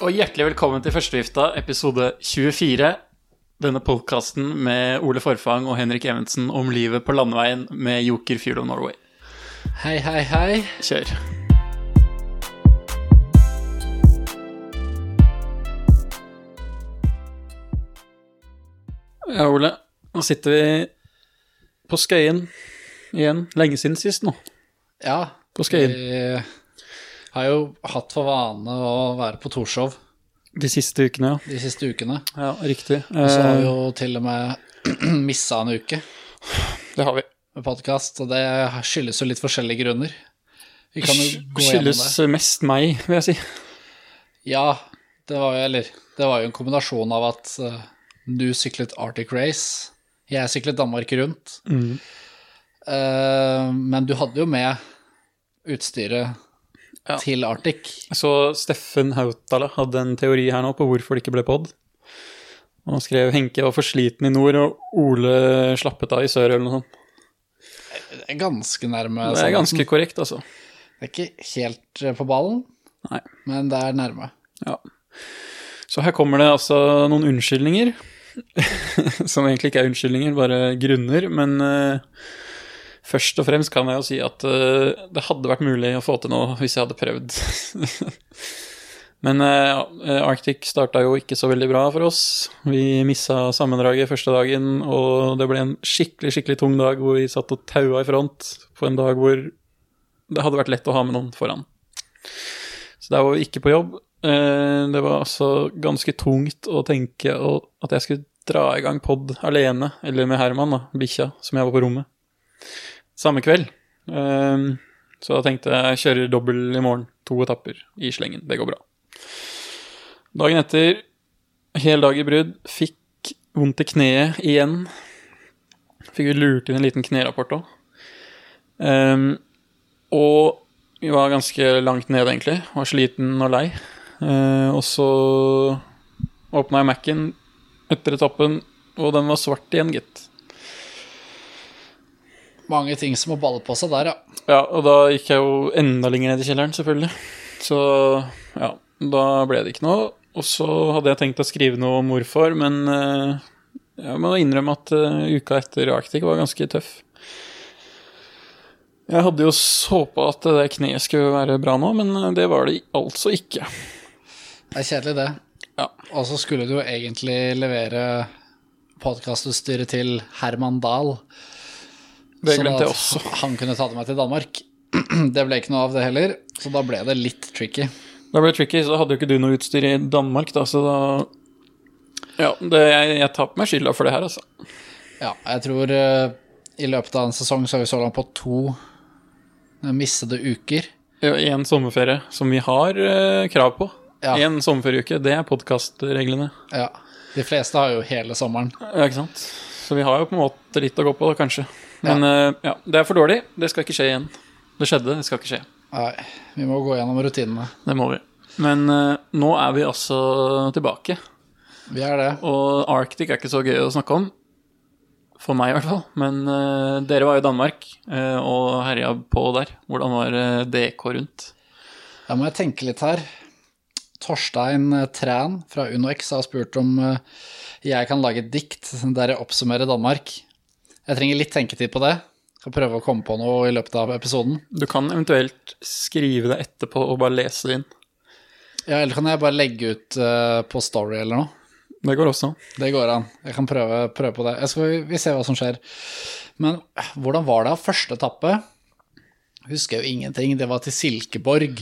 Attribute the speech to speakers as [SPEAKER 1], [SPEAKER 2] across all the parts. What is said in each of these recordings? [SPEAKER 1] Og hjertelig velkommen til Førstevifta, episode 24. Denne podkasten med Ole Forfang og Henrik Evensen om livet på landeveien med Joker Fuel of Norway.
[SPEAKER 2] Hei, hei, hei.
[SPEAKER 1] Kjør. Ja, Ole. Nå sitter vi på Skøyen igjen. Lenge siden sist nå.
[SPEAKER 2] Ja,
[SPEAKER 1] På Skøyen.
[SPEAKER 2] vi har jo hatt for vane å være på Torshov
[SPEAKER 1] De siste ukene, ja.
[SPEAKER 2] de siste ukene.
[SPEAKER 1] Ja, Riktig.
[SPEAKER 2] Eh, Så har vi
[SPEAKER 1] Eh,
[SPEAKER 2] jo til og med missa en uke
[SPEAKER 1] det har vi.
[SPEAKER 2] med podkast, og det skyldes jo litt forskjellige grunner. Vi kan jo gå gjennom
[SPEAKER 1] Skyldes
[SPEAKER 2] det.
[SPEAKER 1] mest meg, vil jeg si.
[SPEAKER 2] Ja, det var jo, eller, det var jo en kombinasjon av at eh, du syklet Arctic Race, jeg syklet Danmark rundt,
[SPEAKER 1] Mm.
[SPEAKER 2] Eh, men du hadde jo med utstyret
[SPEAKER 1] Ja.
[SPEAKER 2] til Arctic.
[SPEAKER 1] Så Steffen Hautala hadde en teori her nå på hvorfor det ikke ble pod. Han skrev Henke var for sliten i nord, og Ole slappet av i sør, eller noe sånt.
[SPEAKER 2] Det er ganske nærme.
[SPEAKER 1] Det
[SPEAKER 2] sånn
[SPEAKER 1] er
[SPEAKER 2] sannheten.
[SPEAKER 1] ganske korrekt, altså.
[SPEAKER 2] Det er ikke helt eh, på ballen,
[SPEAKER 1] Nei.
[SPEAKER 2] men det er nærme.
[SPEAKER 1] Ja. Så her kommer det altså noen unnskyldninger. Som egentlig ikke er unnskyldninger, bare grunner. Men eh, først og fremst kan jeg jo si at eh, det hadde vært mulig å få til noe hvis jeg hadde prøvd. men eh, ja, eh, Arctic starta jo ikke så veldig bra for oss. Vi missa sammendraget første dagen, og det ble en skikkelig, skikkelig tung dag hvor vi satt og taua i front på en dag hvor det hadde vært lett å ha med noen foran. Så der var vi ikke på jobb. Eh, Det var altså ganske tungt å tenke å- at jeg skulle dra i gang pod alene, eller med Herman, da, bikkja, som jeg var på rommet, samme kveld. Eh, Så da tenkte jeg kjører dobbel i morgen, to etapper i slengen, det går bra. Dagen etter, hel dag i brudd, fikk vondt i kneet igjen. Fikk vi lurt inn en liten knerapport Eh, òg. og vi var ganske langt nede, egentlig. Var sliten og lei. Eh, og så åpna jeg Mac-en etter etappen, og den var svart igjen, gitt.
[SPEAKER 2] Mange ting som må balle på seg der, ja.
[SPEAKER 1] Ja, og da gikk jeg jo enda lenger ned i kjelleren, selvfølgelig. Så ja, da ble det ikke noe. Og så hadde jeg tenkt å skrive noe om hvorfor, men eh, jeg må innrømme at eh, uka etter Arctic var ganske tøff. Jeg hadde jo så på at det der kneet skulle være bra nå, men eh, det var det altså ikke.
[SPEAKER 2] Det er kjedelig, det.
[SPEAKER 1] Ja.
[SPEAKER 2] Og så skulle du jo egentlig levere podkastutstyret til Herman Dahl.
[SPEAKER 1] Det
[SPEAKER 2] sånn
[SPEAKER 1] glemte
[SPEAKER 2] at
[SPEAKER 1] jeg også.
[SPEAKER 2] Han kunne ta det med til Danmark. Det ble ikke noe av det heller, så da ble det litt tricky.
[SPEAKER 1] Da ble det tricky, så hadde jo ikke du noe utstyr i Danmark, da, så da Ja, det, jeg, jeg tar på meg skylda for det her, altså.
[SPEAKER 2] Ja, jeg tror eh, i løpet av en sesong så er vi så langt på to eh, missede uker.
[SPEAKER 1] Én sommerferie som vi har eh, krav på.
[SPEAKER 2] Ja.
[SPEAKER 1] Én sommerferieuke, det er podkastreglene.
[SPEAKER 2] Ja. De fleste har jo hele sommeren.
[SPEAKER 1] Ja, ikke sant? Så vi har jo på en måte litt å gå på, da, kanskje. Men eh, ja, det er for dårlig. Det skal ikke skje igjen. Det skjedde, det skal ikke skje.
[SPEAKER 2] Nei, vi må gå gjennom rutinene.
[SPEAKER 1] Det må vi. Men eh, nå er vi altså tilbake.
[SPEAKER 2] Vi er det.
[SPEAKER 1] Og Arctic er ikke så gøy å snakke om. For meg, i hvert fall. Men eh, dere var jo i Danmark eh, og herja på der. Hvordan var eh, DK rundt?
[SPEAKER 2] Da må jeg tenke litt her. Torstein eh, Træn fra UnoX har spurt om eh, jeg kan lage et dikt der jeg oppsummerer Danmark. Jeg trenger litt tenketid på det. Skal prøve å komme på noe i løpet av episoden.
[SPEAKER 1] Du kan eventuelt skrive det etterpå og bare lese det inn.
[SPEAKER 2] Ja, Eller kan jeg bare legge ut eh, på Story eller noe.
[SPEAKER 1] Det går også.
[SPEAKER 2] Det går an. Jeg kan prøve, prøve på det. Jeg skal, vi ser hva som skjer. Men eh, hvordan var det av første etappe? Husker jeg jo ingenting. Det var til Silkeborg.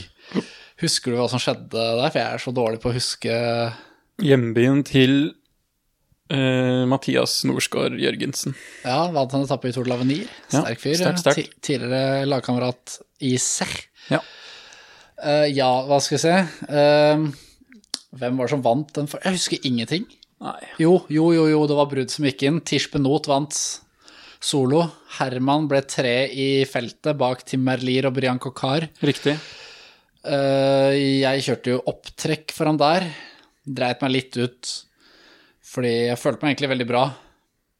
[SPEAKER 2] Husker du hva som skjedde der? For jeg er så dårlig på å huske
[SPEAKER 1] Hjembyen til eh, Mathias Norsgaard Jørgensen.
[SPEAKER 2] Ja, vant en etappe i Tour de l'Avenir.
[SPEAKER 1] Ja,
[SPEAKER 2] Sterk fyr.
[SPEAKER 1] sterkt, sterkt.
[SPEAKER 2] Ti- Tidligere lagkamerat i Serre.
[SPEAKER 1] Ja.
[SPEAKER 2] Eh, ja, hva skal vi se Ehm, Hvem var det som vant den? for- Jeg husker ingenting.
[SPEAKER 1] Nei.
[SPEAKER 2] Jo, jo, jo, jo det var Brudd som gikk inn. Tish Benot vant solo. Herman ble tre i feltet bak Tim Merlier og Brian Coquar.
[SPEAKER 1] Riktig.
[SPEAKER 2] Eh, jeg kjørte jo opptrekk for han der. Dreit meg litt ut, fordi jeg følte meg egentlig veldig bra.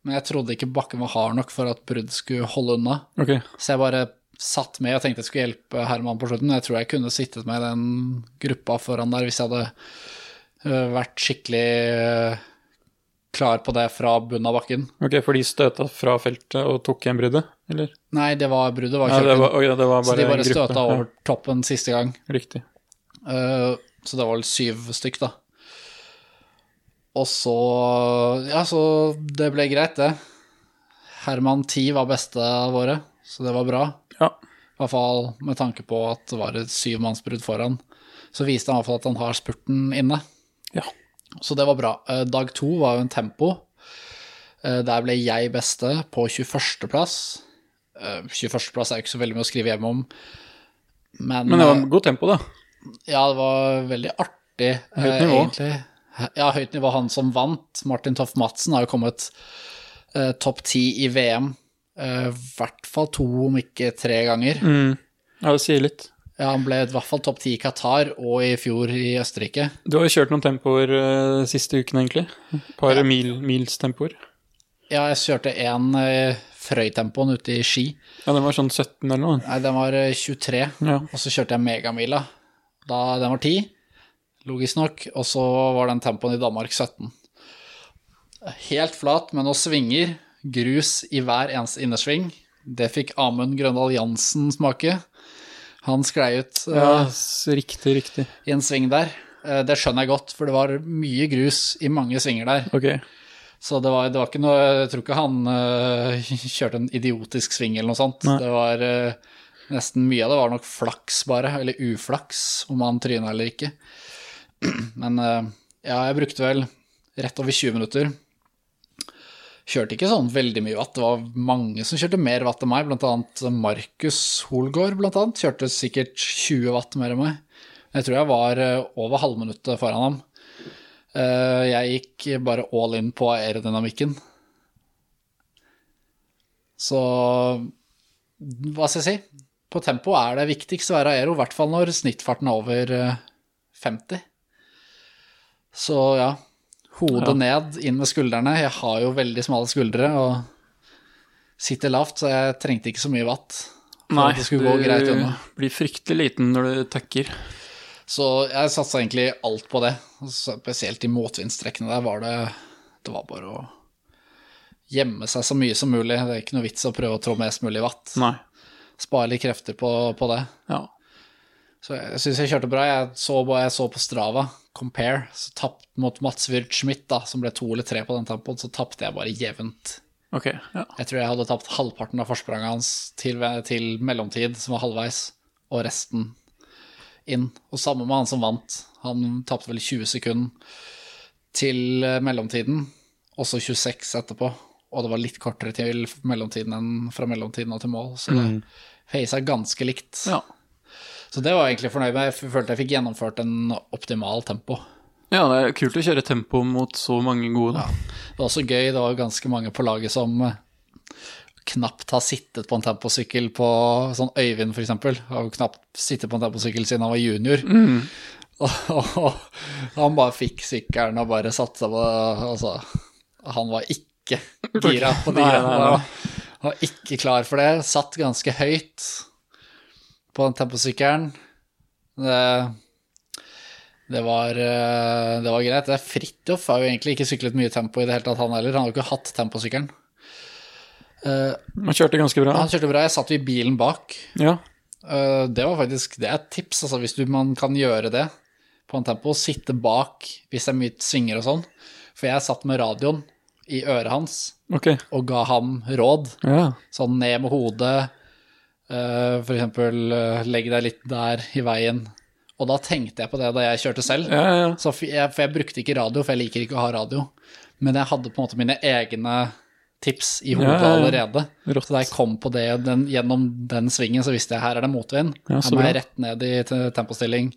[SPEAKER 2] Men jeg trodde ikke bakken var hard nok for at brudd skulle holde unna.
[SPEAKER 1] Ok.
[SPEAKER 2] Så jeg bare satt med og tenkte jeg skulle hjelpe Herman på slutten. Jeg tror jeg kunne sittet med i den gruppa foran der hvis jeg hadde eh, vært skikkelig eh, klar på det fra bunnen av bakken.
[SPEAKER 1] Ok, for de støta fra feltet og tok igjen bruddet, eller?
[SPEAKER 2] Nei, det var bruddet var
[SPEAKER 1] Ja,
[SPEAKER 2] kjørt
[SPEAKER 1] det
[SPEAKER 2] inn,
[SPEAKER 1] var, ok, det var bare
[SPEAKER 2] så de bare
[SPEAKER 1] en gruppe.
[SPEAKER 2] støta over toppen siste gang.
[SPEAKER 1] Ja, riktig.
[SPEAKER 2] Eh, Så det var vel syv stykk, da. Og så Ja, så det ble greit, det. Herman 10 var beste av våre, så det var bra.
[SPEAKER 1] Ja.
[SPEAKER 2] I hvert fall med tanke på at det var et syvmannsbrudd foran. Så viste han i hvert fall at han har spurten inne.
[SPEAKER 1] Ja.
[SPEAKER 2] Så det var bra. Eh, Dag to var jo en tempo. Eh, Der ble jeg beste på 21.-plass. 21.-plass er jo ikke så veldig mye å skrive hjem om, men,
[SPEAKER 1] Men det var
[SPEAKER 2] eh,
[SPEAKER 1] en god tempo, da.
[SPEAKER 2] ja, det var veldig artig, eh,
[SPEAKER 1] Høyt nivå.
[SPEAKER 2] egentlig. Ja, høyt nivå. Han som vant, Martin Toff Madsen, har jo kommet eh, topp ti i VM. eh, I hvert fall to, om ikke tre ganger.
[SPEAKER 1] Mm. Ja, det sier litt.
[SPEAKER 2] Ja, han ble i hvert fall topp ti i Qatar og i fjor i Østerrike.
[SPEAKER 1] Du har jo kjørt noen tempoer eh, siste uken, egentlig. Et par mil, milstempoer.
[SPEAKER 2] Ja, jeg kjørte én eh, Frøytempoen ute i Ski.
[SPEAKER 1] Ja, den var sånn 17 eller noe.
[SPEAKER 2] Nei, den var eh, 23,
[SPEAKER 1] Ja.
[SPEAKER 2] og så kjørte jeg megamila. Da den var 10, logisk nok, og så var den tempoen i Danmark 17. Helt flat, men noen svinger, grus i hver eneste innersving. Det fikk Amund Grøndal Jansen smake. Han sklei ut eh,
[SPEAKER 1] ja, s- riktig, riktig.
[SPEAKER 2] i en sving der. Eh, Det skjønner jeg godt, for det var mye grus i mange svinger der.
[SPEAKER 1] Ok.
[SPEAKER 2] Så det var, det var ikke noe Jeg tror ikke han eh, kjørte en idiotisk sving eller noe sånt.
[SPEAKER 1] Nei.
[SPEAKER 2] Det var eh, nesten mye av det var nok flaks, bare. Eller uflaks, om han tryna eller ikke. Men eh, ja, jeg brukte vel rett over 20 minutter. Kjørte ikke sånn veldig mye watt. Det var mange som kjørte mer watt enn meg, blant annet Markus Holgaard, blant annet. Kjørte sikkert 20 watt mer enn meg. Jeg tror jeg var eh, over halvminuttet foran ham. Eh, Jeg gikk bare all in på aerodynamikken. Så hva skal jeg si? På tempo er det viktigst å være aero, i hvert fall når snittfarten er over eh, 50. Så ja, hodet
[SPEAKER 1] Ja.
[SPEAKER 2] ned, inn med skuldrene. Jeg har jo veldig smale skuldre og sitter lavt, så jeg trengte ikke så mye watt. for at det skulle gå greit unna.
[SPEAKER 1] blir fryktelig liten når du tacker.
[SPEAKER 2] Så jeg satsa egentlig alt på det. Så Spesielt i motvindstrekkene der var det Det var bare å gjemme seg så mye som mulig. Det er ikke noe vits å prøve å trå mest mulig watt.
[SPEAKER 1] Nei.
[SPEAKER 2] Spare litt krefter på, på det.
[SPEAKER 1] Ja.
[SPEAKER 2] Så jeg syns jeg kjørte bra. Jeg så, jeg så på Strava, Compare, så tapt mot Mats Wirt Schmidt, da, som ble to eller tre på den tempoen, så tapte jeg bare jevnt.
[SPEAKER 1] Ok. Ja.
[SPEAKER 2] Jeg tror jeg hadde tapt halvparten av forspranget hans til, til mellomtid, som var halvveis, og resten inn. Og samme med han som vant. Han tapte vel 20 sekunder til eh, mellomtiden, og så 26 etterpå. Og det var litt kortere til mellomtiden enn fra mellomtiden og til mål, så det facet ganske likt.
[SPEAKER 1] Ja.
[SPEAKER 2] Så det var jeg egentlig fornøyd med. Jeg følte jeg fikk gjennomført en optimal tempo.
[SPEAKER 1] ja, det er kult å kjøre tempo mot så mange gode, da.
[SPEAKER 2] Det var også gøy, det var ganske mange på laget som eh, knapt har sittet på en temposykkel på sånn Øyvind for eksempel, har jo knapt sittet på en temposykkel siden han var junior.
[SPEAKER 1] Mm.
[SPEAKER 2] Og, han bare fikk sykkelen og bare satte seg på Altså, han var ikke gira på de
[SPEAKER 1] Nei, nei,
[SPEAKER 2] greiene.
[SPEAKER 1] nei.
[SPEAKER 2] Han var- var ikke klar for det. Satt ganske høyt på den temposykkelen. Det det var, eh, det var greit. Det er Fridtjof har jo egentlig ikke syklet mye tempo i det hele tatt, han heller. Han har jo ikke hatt temposykkelen. Eh,
[SPEAKER 1] Man kjørte ganske bra.
[SPEAKER 2] Han kjørte bra. Jeg satt jo i bilen bak.
[SPEAKER 1] Ja.
[SPEAKER 2] Eh, det var faktisk Det er et tips, altså, hvis du, man kan gjøre det på en tempo. Sitte bak hvis det er mye svinger og sånn. For jeg satt med radioen i øret hans
[SPEAKER 1] Ok.
[SPEAKER 2] og ga ham råd.
[SPEAKER 1] Ja.
[SPEAKER 2] Sånn ned med hodet, eh, for eksempel eh, legg deg litt der i veien. Og da tenkte jeg på det da jeg kjørte selv.
[SPEAKER 1] Ja, ja.
[SPEAKER 2] Så f- jeg, for jeg brukte ikke radio, for jeg liker ikke å ha radio. Men jeg hadde på en måte mine egne tips i hodet
[SPEAKER 1] Ja, ja, ja.
[SPEAKER 2] allerede.
[SPEAKER 1] Rått.
[SPEAKER 2] Så da jeg kom på det den, gjennom den svingen, så visste jeg her er det motvind.
[SPEAKER 1] Ja, så
[SPEAKER 2] her må jeg
[SPEAKER 1] bra.
[SPEAKER 2] rett ned i te- tempostilling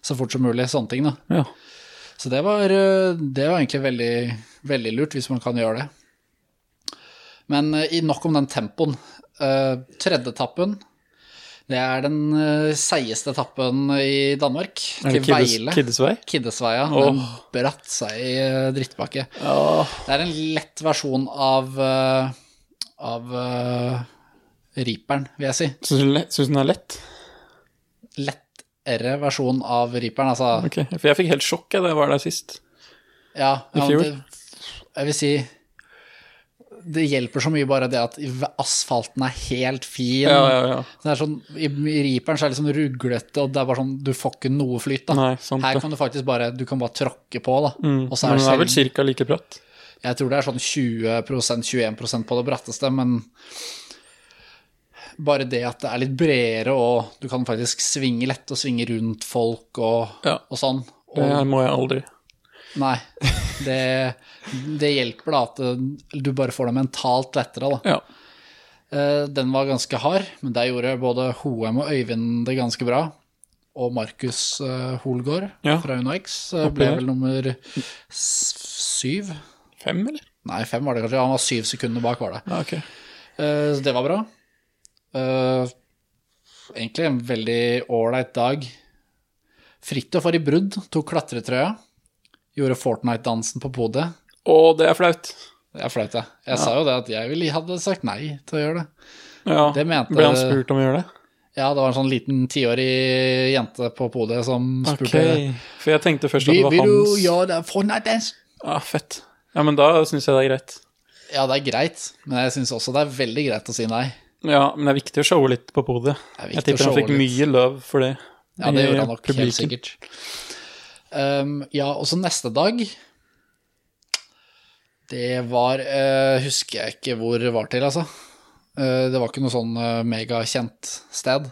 [SPEAKER 2] så fort som mulig. Sånne ting, da.
[SPEAKER 1] ja.
[SPEAKER 2] Så det var, eh, det var egentlig veldig, veldig lurt, hvis man kan gjøre det. Men eh, i- nok om den tempoen. Eh, Tredje etappen, det er den eh, seigeste etappen i Danmark,
[SPEAKER 1] Er
[SPEAKER 2] til
[SPEAKER 1] det Kiddes,
[SPEAKER 2] Veile.
[SPEAKER 1] Kiddesvei?
[SPEAKER 2] Kiddesveia. Den bratt seg i eh, drittbakke.
[SPEAKER 1] Ja.
[SPEAKER 2] Det er en lett versjon av eh, av eh, Reaperen, vil jeg si.
[SPEAKER 1] Syns du le- syns du den er lett?
[SPEAKER 2] Lett R versjon av Reaperen. Altså,
[SPEAKER 1] Ok, For jeg fikk helt sjokk jeg, da jeg var der sist.
[SPEAKER 2] ja,
[SPEAKER 1] I
[SPEAKER 2] ja,
[SPEAKER 1] fjor?
[SPEAKER 2] det, jeg vil si Det hjelper så mye bare det at asfalten er helt fin.
[SPEAKER 1] Ja, ja, ja.
[SPEAKER 2] Det er sånn, I i Reaperen så er det liksom ruglete, og det er bare sånn, du får ikke noe flyt. da.
[SPEAKER 1] Nei, sant
[SPEAKER 2] Her
[SPEAKER 1] det.
[SPEAKER 2] kan du faktisk bare du kan bare tråkke på, da.
[SPEAKER 1] Mm.
[SPEAKER 2] Og så er
[SPEAKER 1] Men
[SPEAKER 2] det
[SPEAKER 1] den er
[SPEAKER 2] selv,
[SPEAKER 1] vel ca. like bratt.
[SPEAKER 2] Jeg tror det er sånn 20-21 på det bratteste, men bare det at det er litt bredere, og du kan faktisk svinge lett og svinge rundt folk og,
[SPEAKER 1] Ja.
[SPEAKER 2] og sånn. Og,
[SPEAKER 1] Det må jeg aldri.
[SPEAKER 2] Nei. Det, det hjelper da at det- du bare får det mentalt lettere, da.
[SPEAKER 1] Ja.
[SPEAKER 2] Eh, Den var ganske hard, men der gjorde både Hoem og Øyvind det ganske bra. Og Markus eh, Holgaard
[SPEAKER 1] Ja.
[SPEAKER 2] fra UnoX eh,
[SPEAKER 1] Oppi
[SPEAKER 2] ble
[SPEAKER 1] der.
[SPEAKER 2] vel nummer s- syv.
[SPEAKER 1] Fem, eller?
[SPEAKER 2] Nei, fem var det kanskje. Han var syv sekunder bak, var det.
[SPEAKER 1] Ja, ok.
[SPEAKER 2] Eh, Så det var bra. Eh, Egentlig en veldig ålreit dag. Fridtjof var i brudd, tok klatretrøya. Gjorde Fortnite-dansen på podiet.
[SPEAKER 1] Å, det er flaut.
[SPEAKER 2] Det er flaut, jeg. Jeg sa jo det at jeg ville, hadde sagt nei til å gjøre det.
[SPEAKER 1] Ja.
[SPEAKER 2] Det mente-
[SPEAKER 1] Ble han spurt om å gjøre det?
[SPEAKER 2] Ja, det var en sånn liten tiårig jente på podiet som
[SPEAKER 1] Ok.
[SPEAKER 2] spurte
[SPEAKER 1] For jeg tenkte først at
[SPEAKER 2] Vil,
[SPEAKER 1] det var
[SPEAKER 2] vil du
[SPEAKER 1] hans
[SPEAKER 2] gjøre det Fortnite-dans?
[SPEAKER 1] Ja, fett. Ja, men da syns jeg det er greit.
[SPEAKER 2] Ja, det er greit, men jeg syns også det er veldig greit å si nei.
[SPEAKER 1] Ja, men det er viktig å showe litt på podiet.
[SPEAKER 2] Det er viktig
[SPEAKER 1] Jeg
[SPEAKER 2] å
[SPEAKER 1] tipper han
[SPEAKER 2] showe
[SPEAKER 1] fikk
[SPEAKER 2] litt.
[SPEAKER 1] mye love for det.
[SPEAKER 2] Ja, det
[SPEAKER 1] i
[SPEAKER 2] gjorde han nok,
[SPEAKER 1] publikum.
[SPEAKER 2] helt sikkert. Um, ja, og så neste dag Det var eh, Husker jeg ikke hvor det var til, altså. Eh, det var ikke noe sånn eh, megakjent sted.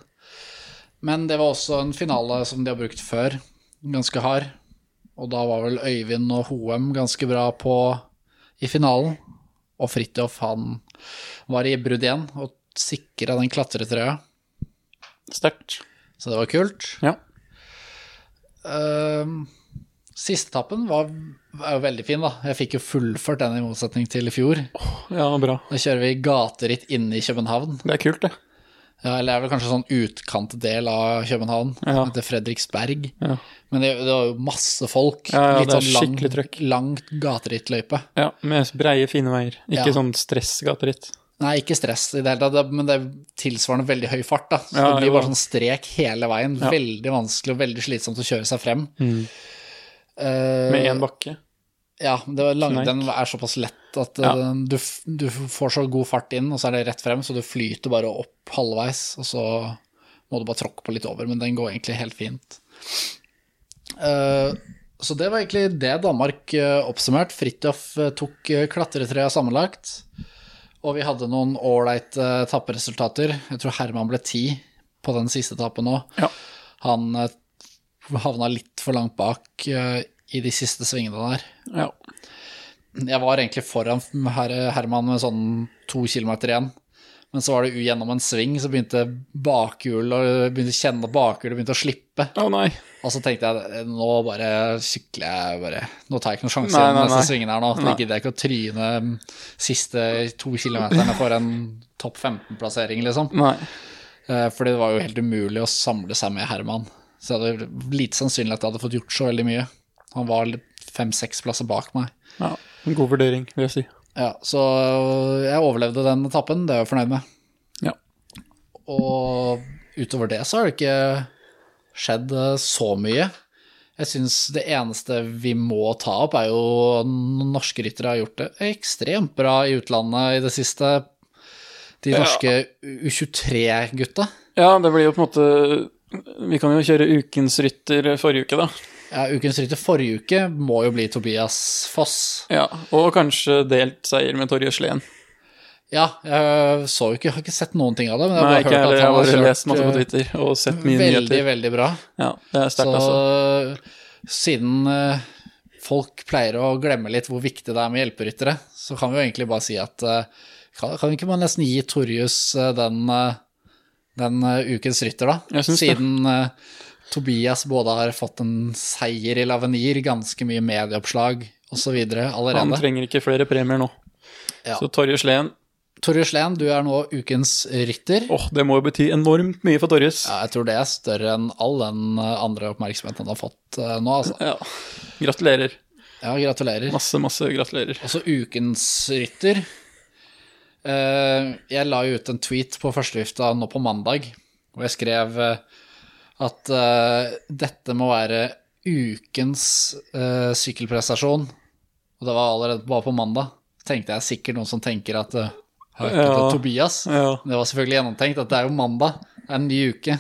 [SPEAKER 2] Men det var også en finale som de har brukt før, ganske hard. Og da var vel Øyvind og Hoem ganske bra på i finalen. Og Fridtjof, han var i brudd igjen og sikra den klatretrøya,
[SPEAKER 1] Sterkt.
[SPEAKER 2] så det var kult.
[SPEAKER 1] Ja.
[SPEAKER 2] Ehm, Siste etappen var, var jo veldig fin, da. Jeg fikk jo fullført den i motsetning til i fjor.
[SPEAKER 1] ja, bra.
[SPEAKER 2] Da kjører vi gateritt inne i København.
[SPEAKER 1] Det er kult, det.
[SPEAKER 2] Ja, eller det er vel kanskje sånn utkantdel av København,
[SPEAKER 1] Ja.
[SPEAKER 2] etter Fredriksberg.
[SPEAKER 1] Ja.
[SPEAKER 2] Men det, det var jo masse folk. sånn
[SPEAKER 1] Ja, ja, det er
[SPEAKER 2] lang-
[SPEAKER 1] skikkelig trøkk.
[SPEAKER 2] langt gaterittløype.
[SPEAKER 1] Ja, Med breie, fine veier. Ikke
[SPEAKER 2] Ja.
[SPEAKER 1] sånn stressgateritt.
[SPEAKER 2] Nei, ikke stress i det hele tatt, det- men det er tilsvarende veldig høy fart, da. Så
[SPEAKER 1] Ja,
[SPEAKER 2] det blir
[SPEAKER 1] jo
[SPEAKER 2] bare sånn strek hele veien.
[SPEAKER 1] Ja. Mm.
[SPEAKER 2] Veldig vanskelig og veldig slitsomt å kjøre seg frem. Eh,
[SPEAKER 1] Med én bakke.
[SPEAKER 2] Ja, det var lang,
[SPEAKER 1] Kneik.
[SPEAKER 2] den er såpass lett at
[SPEAKER 1] Ja.
[SPEAKER 2] eh, du, f- du får så god fart inn, og så er det rett frem, så du flyter bare opp halvveis, og så må du bare tråkke på litt over, men den går egentlig helt fint. Eh, så det var egentlig det Danmark eh, oppsummert. Fridtjof eh, tok eh, klatretrøya sammenlagt, og vi hadde noen ålreite etapperesultater. Jeg tror Herman ble ti på den siste etappen nå.
[SPEAKER 1] Ja.
[SPEAKER 2] Han eh, havna litt for langt bak eh, i de siste svingene der.
[SPEAKER 1] Ja.
[SPEAKER 2] Jeg var egentlig foran her, Herman med sånn to kilometer igjen. Men så var det gjennom en sving, så begynte bakhjulet å- begynte å kjenne at bakhjulet begynte å slippe.
[SPEAKER 1] Å nei.
[SPEAKER 2] Og så tenkte jeg eh, nå bare sykler jeg bare Nå tar jeg ikke noen sjanse
[SPEAKER 1] Nei,
[SPEAKER 2] igjen
[SPEAKER 1] nei,
[SPEAKER 2] neste
[SPEAKER 1] nei.
[SPEAKER 2] svingen her nå.
[SPEAKER 1] Nei.
[SPEAKER 2] Da gidder jeg ikke å tryne mm, siste to kilometerne for en topp 15-plassering, liksom.
[SPEAKER 1] Nei.
[SPEAKER 2] Eh, Fordi det var jo helt umulig å samle seg med Herman. Så det er lite sannsynlig at jeg hadde fått gjort så veldig mye. Han var fem-seks plasser bak meg.
[SPEAKER 1] Ja. En god vurdering, vil jeg si.
[SPEAKER 2] Ja, så jeg overlevde den etappen, det er jeg fornøyd med.
[SPEAKER 1] Ja.
[SPEAKER 2] Og utover det så har det ikke skjedd eh, så mye. Jeg syns det eneste vi må ta opp, er jo n- norske ryttere har gjort det ekstremt bra i utlandet i det siste. De
[SPEAKER 1] Ja.
[SPEAKER 2] norske U23-gutta.
[SPEAKER 1] Ja, det blir jo på en måte Vi kan jo kjøre Ukens rytter forrige uke, da.
[SPEAKER 2] Ja, ukens rytter forrige uke må jo bli Tobias Foss.
[SPEAKER 1] Ja, Og kanskje delt seier med Torje Sleen.
[SPEAKER 2] Ja, jeg så jo ikke, jeg har ikke sett noen ting av det, men jeg
[SPEAKER 1] Nei,
[SPEAKER 2] har
[SPEAKER 1] ikke
[SPEAKER 2] bare
[SPEAKER 1] jeg
[SPEAKER 2] hørt
[SPEAKER 1] heller. Jeg
[SPEAKER 2] at
[SPEAKER 1] har
[SPEAKER 2] han har
[SPEAKER 1] bare lest masse på
[SPEAKER 2] kjørt eh,
[SPEAKER 1] Twitter og sett mye
[SPEAKER 2] veldig,
[SPEAKER 1] nyheter.
[SPEAKER 2] veldig bra.
[SPEAKER 1] Ja, det er
[SPEAKER 2] Så
[SPEAKER 1] sterkt, altså.
[SPEAKER 2] siden eh, folk pleier å glemme litt hvor viktig det er med hjelperyttere, så kan vi jo egentlig bare si at eh, kan, kan ikke man nesten gi Torjus eh, den, eh, den eh, ukens rytter, da?
[SPEAKER 1] Jeg syns det.
[SPEAKER 2] Siden eh, Tobias både har fått en seier i Lavenir, ganske mye medieoppslag osv.
[SPEAKER 1] Han
[SPEAKER 2] allerede.
[SPEAKER 1] trenger ikke flere premier nå.
[SPEAKER 2] Ja.
[SPEAKER 1] Så Torje Sleen
[SPEAKER 2] Torjus Lehn, du er nå ukens rytter.
[SPEAKER 1] Åh, det må jo bety enormt mye for Torjus.
[SPEAKER 2] Ja, jeg tror det er større enn all den eh, andre oppmerksomheten han har fått eh, nå, altså.
[SPEAKER 1] Ja. Gratulerer.
[SPEAKER 2] Ja, gratulerer.
[SPEAKER 1] Masse, masse gratulerer.
[SPEAKER 2] Også Altså, ukens rytter. Eh, Jeg la jo ut en tweet på førstevifta nå på mandag, hvor jeg skrev eh, at eh, dette må være ukens eh, sykkelprestasjon. Og det var allerede bare på mandag. Tenkte jeg sikkert noen som tenker at uh, Hørte
[SPEAKER 1] Ja.
[SPEAKER 2] til Tobias.
[SPEAKER 1] Ja.
[SPEAKER 2] Det var selvfølgelig gjennomtenkt at det er jo mandag. Det er en ny uke.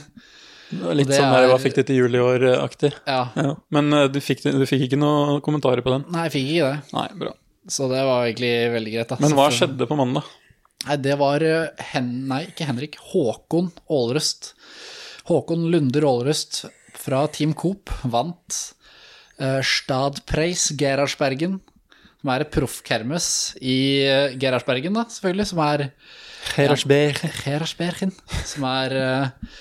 [SPEAKER 1] Det var Litt
[SPEAKER 2] Og det
[SPEAKER 1] sånn der, hva
[SPEAKER 2] er-
[SPEAKER 1] fikk du til jul i år-aktig.
[SPEAKER 2] Ja.
[SPEAKER 1] Ja. Men eh, du fikk, du fikk ikke noen kommentarer på den?
[SPEAKER 2] Nei, jeg fikk ikke det.
[SPEAKER 1] Nei, bra.
[SPEAKER 2] Så det var egentlig veldig greit. Da.
[SPEAKER 1] Men hva
[SPEAKER 2] Så-
[SPEAKER 1] skjedde på mandag?
[SPEAKER 2] Nei, det var eh, Hen... Nei, ikke Henrik. Håkon Aalrust. Håkon Lunder Aalrust fra Team Coop vant eh, Stadpreis Gerhardsbergen, som er et proffkermes i eh, Gerhardsbergen, da, selvfølgelig, som er
[SPEAKER 1] Herresberg.
[SPEAKER 2] Gerhardsbergen, som er eh,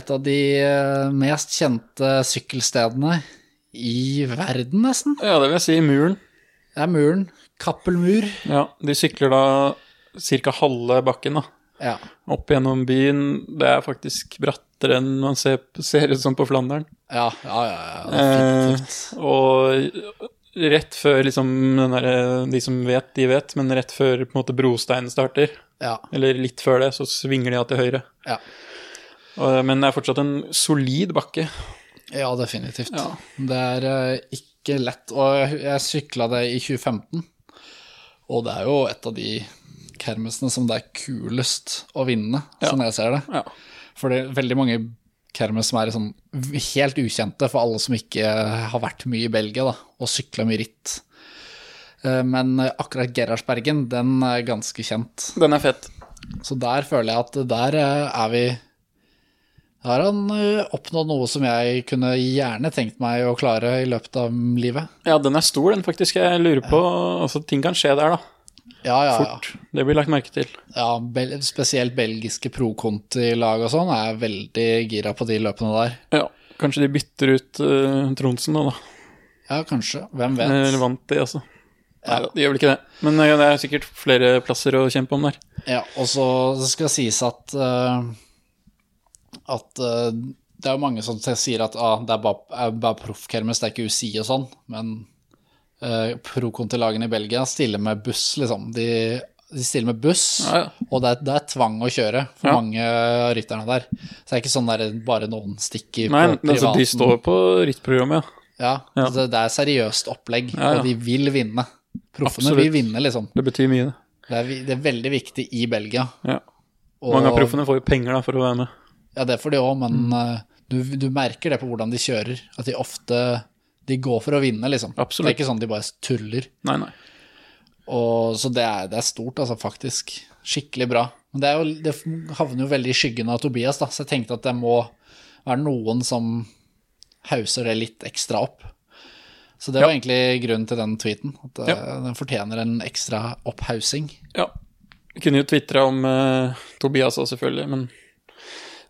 [SPEAKER 2] et av de eh, mest kjente sykkelstedene i verden, nesten.
[SPEAKER 1] Ja, det vil jeg si. Muren.
[SPEAKER 2] Det er muren. Kappelmur.
[SPEAKER 1] Ja, de sykler da ca. halve bakken, da.
[SPEAKER 2] Ja.
[SPEAKER 1] Opp gjennom byen. Det er faktisk brattere enn man ser, ser ut som på Flandern.
[SPEAKER 2] Ja, ja, ja. ja definitivt.
[SPEAKER 1] Eh, og rett før liksom den derre De som vet, de vet, men rett før på en måte brosteinen starter,
[SPEAKER 2] Ja,
[SPEAKER 1] eller litt før det, så svinger de av til høyre.
[SPEAKER 2] ja.
[SPEAKER 1] Og- Men det er fortsatt en solid bakke.
[SPEAKER 2] Ja, definitivt.
[SPEAKER 1] Ja.
[SPEAKER 2] Det er eh, ikke lett. Og jeg sykla det i 2015, og det er jo et av de kermesene som det er kulest å vinne, sånn jeg ser det.
[SPEAKER 1] Ja.
[SPEAKER 2] For det er veldig mange kermes som er sånn helt ukjente for alle som ikke har vært mye i Belgia, da, og sykla mye ritt. Eh, Men akkurat Gerhardsbergen, den er ganske kjent.
[SPEAKER 1] Den er fett.
[SPEAKER 2] Så der føler jeg at der eh, er vi Der har han eh, oppnådd noe som jeg kunne gjerne tenkt meg å klare i løpet av livet.
[SPEAKER 1] Ja, den er stor, den faktisk. Jeg lurer på Altså, ting kan skje der, da.
[SPEAKER 2] Ja, ja,
[SPEAKER 1] Fort. Det blir lagt merke til.
[SPEAKER 2] ja. ja bel spesielt belgiske pro-conti-lag og sånn er veldig gira på de løpene der.
[SPEAKER 1] Ja. Kanskje de bytter ut eh, Tronsen nå, da.
[SPEAKER 2] Ja, kanskje. Hvem vet.
[SPEAKER 1] Eller vant de, altså. Nei da, de gjør vel ikke det. Men eh, det er sikkert flere plasser å kjempe om der.
[SPEAKER 2] Ja, og så skal det sies at eh, at eh, det er jo mange som sier at ah, det er bare, er bare proffkermes, det er ikke UCI og sånn, men uh, pro-kontilagene i Belgia stiller med buss, liksom. De, de stiller med buss,
[SPEAKER 1] Ja, ja.
[SPEAKER 2] og det er, det er tvang å kjøre for
[SPEAKER 1] Ja.
[SPEAKER 2] mange av rytterne der. Så det er ikke sånn der bare noen stikker
[SPEAKER 1] Nei,
[SPEAKER 2] på privaten.
[SPEAKER 1] altså, de står på rittprogrammet, ja.
[SPEAKER 2] Ja,
[SPEAKER 1] Ja.
[SPEAKER 2] Det, det er seriøst opplegg,
[SPEAKER 1] Ja, ja.
[SPEAKER 2] og de vil vinne. Proffene
[SPEAKER 1] Absolutt.
[SPEAKER 2] vil vinne, liksom.
[SPEAKER 1] Det betyr mye, det.
[SPEAKER 2] Det er, vi- det er veldig viktig i Belgia.
[SPEAKER 1] Ja.
[SPEAKER 2] og-
[SPEAKER 1] Mange av proffene får jo penger da, for å være med.
[SPEAKER 2] Ja, det får de òg, men
[SPEAKER 1] Mm.
[SPEAKER 2] eh, du, du merker det på hvordan de kjører. At de ofte de går for å vinne, liksom.
[SPEAKER 1] Absolutt.
[SPEAKER 2] Det er ikke sånn de bare tuller.
[SPEAKER 1] Nei, nei.
[SPEAKER 2] Og, så det er, det er stort, altså, faktisk. Skikkelig bra. Men det, er jo, det havner jo veldig i skyggen av Tobias, da, så jeg tenkte at det må være noen som hauser det litt ekstra opp. Så det var egentlig grunnen til den tweeten. At eh, den fortjener en ekstra opphaussing.
[SPEAKER 1] Ja. Vi kunne jo tvitra om eh, Tobias òg, selvfølgelig, men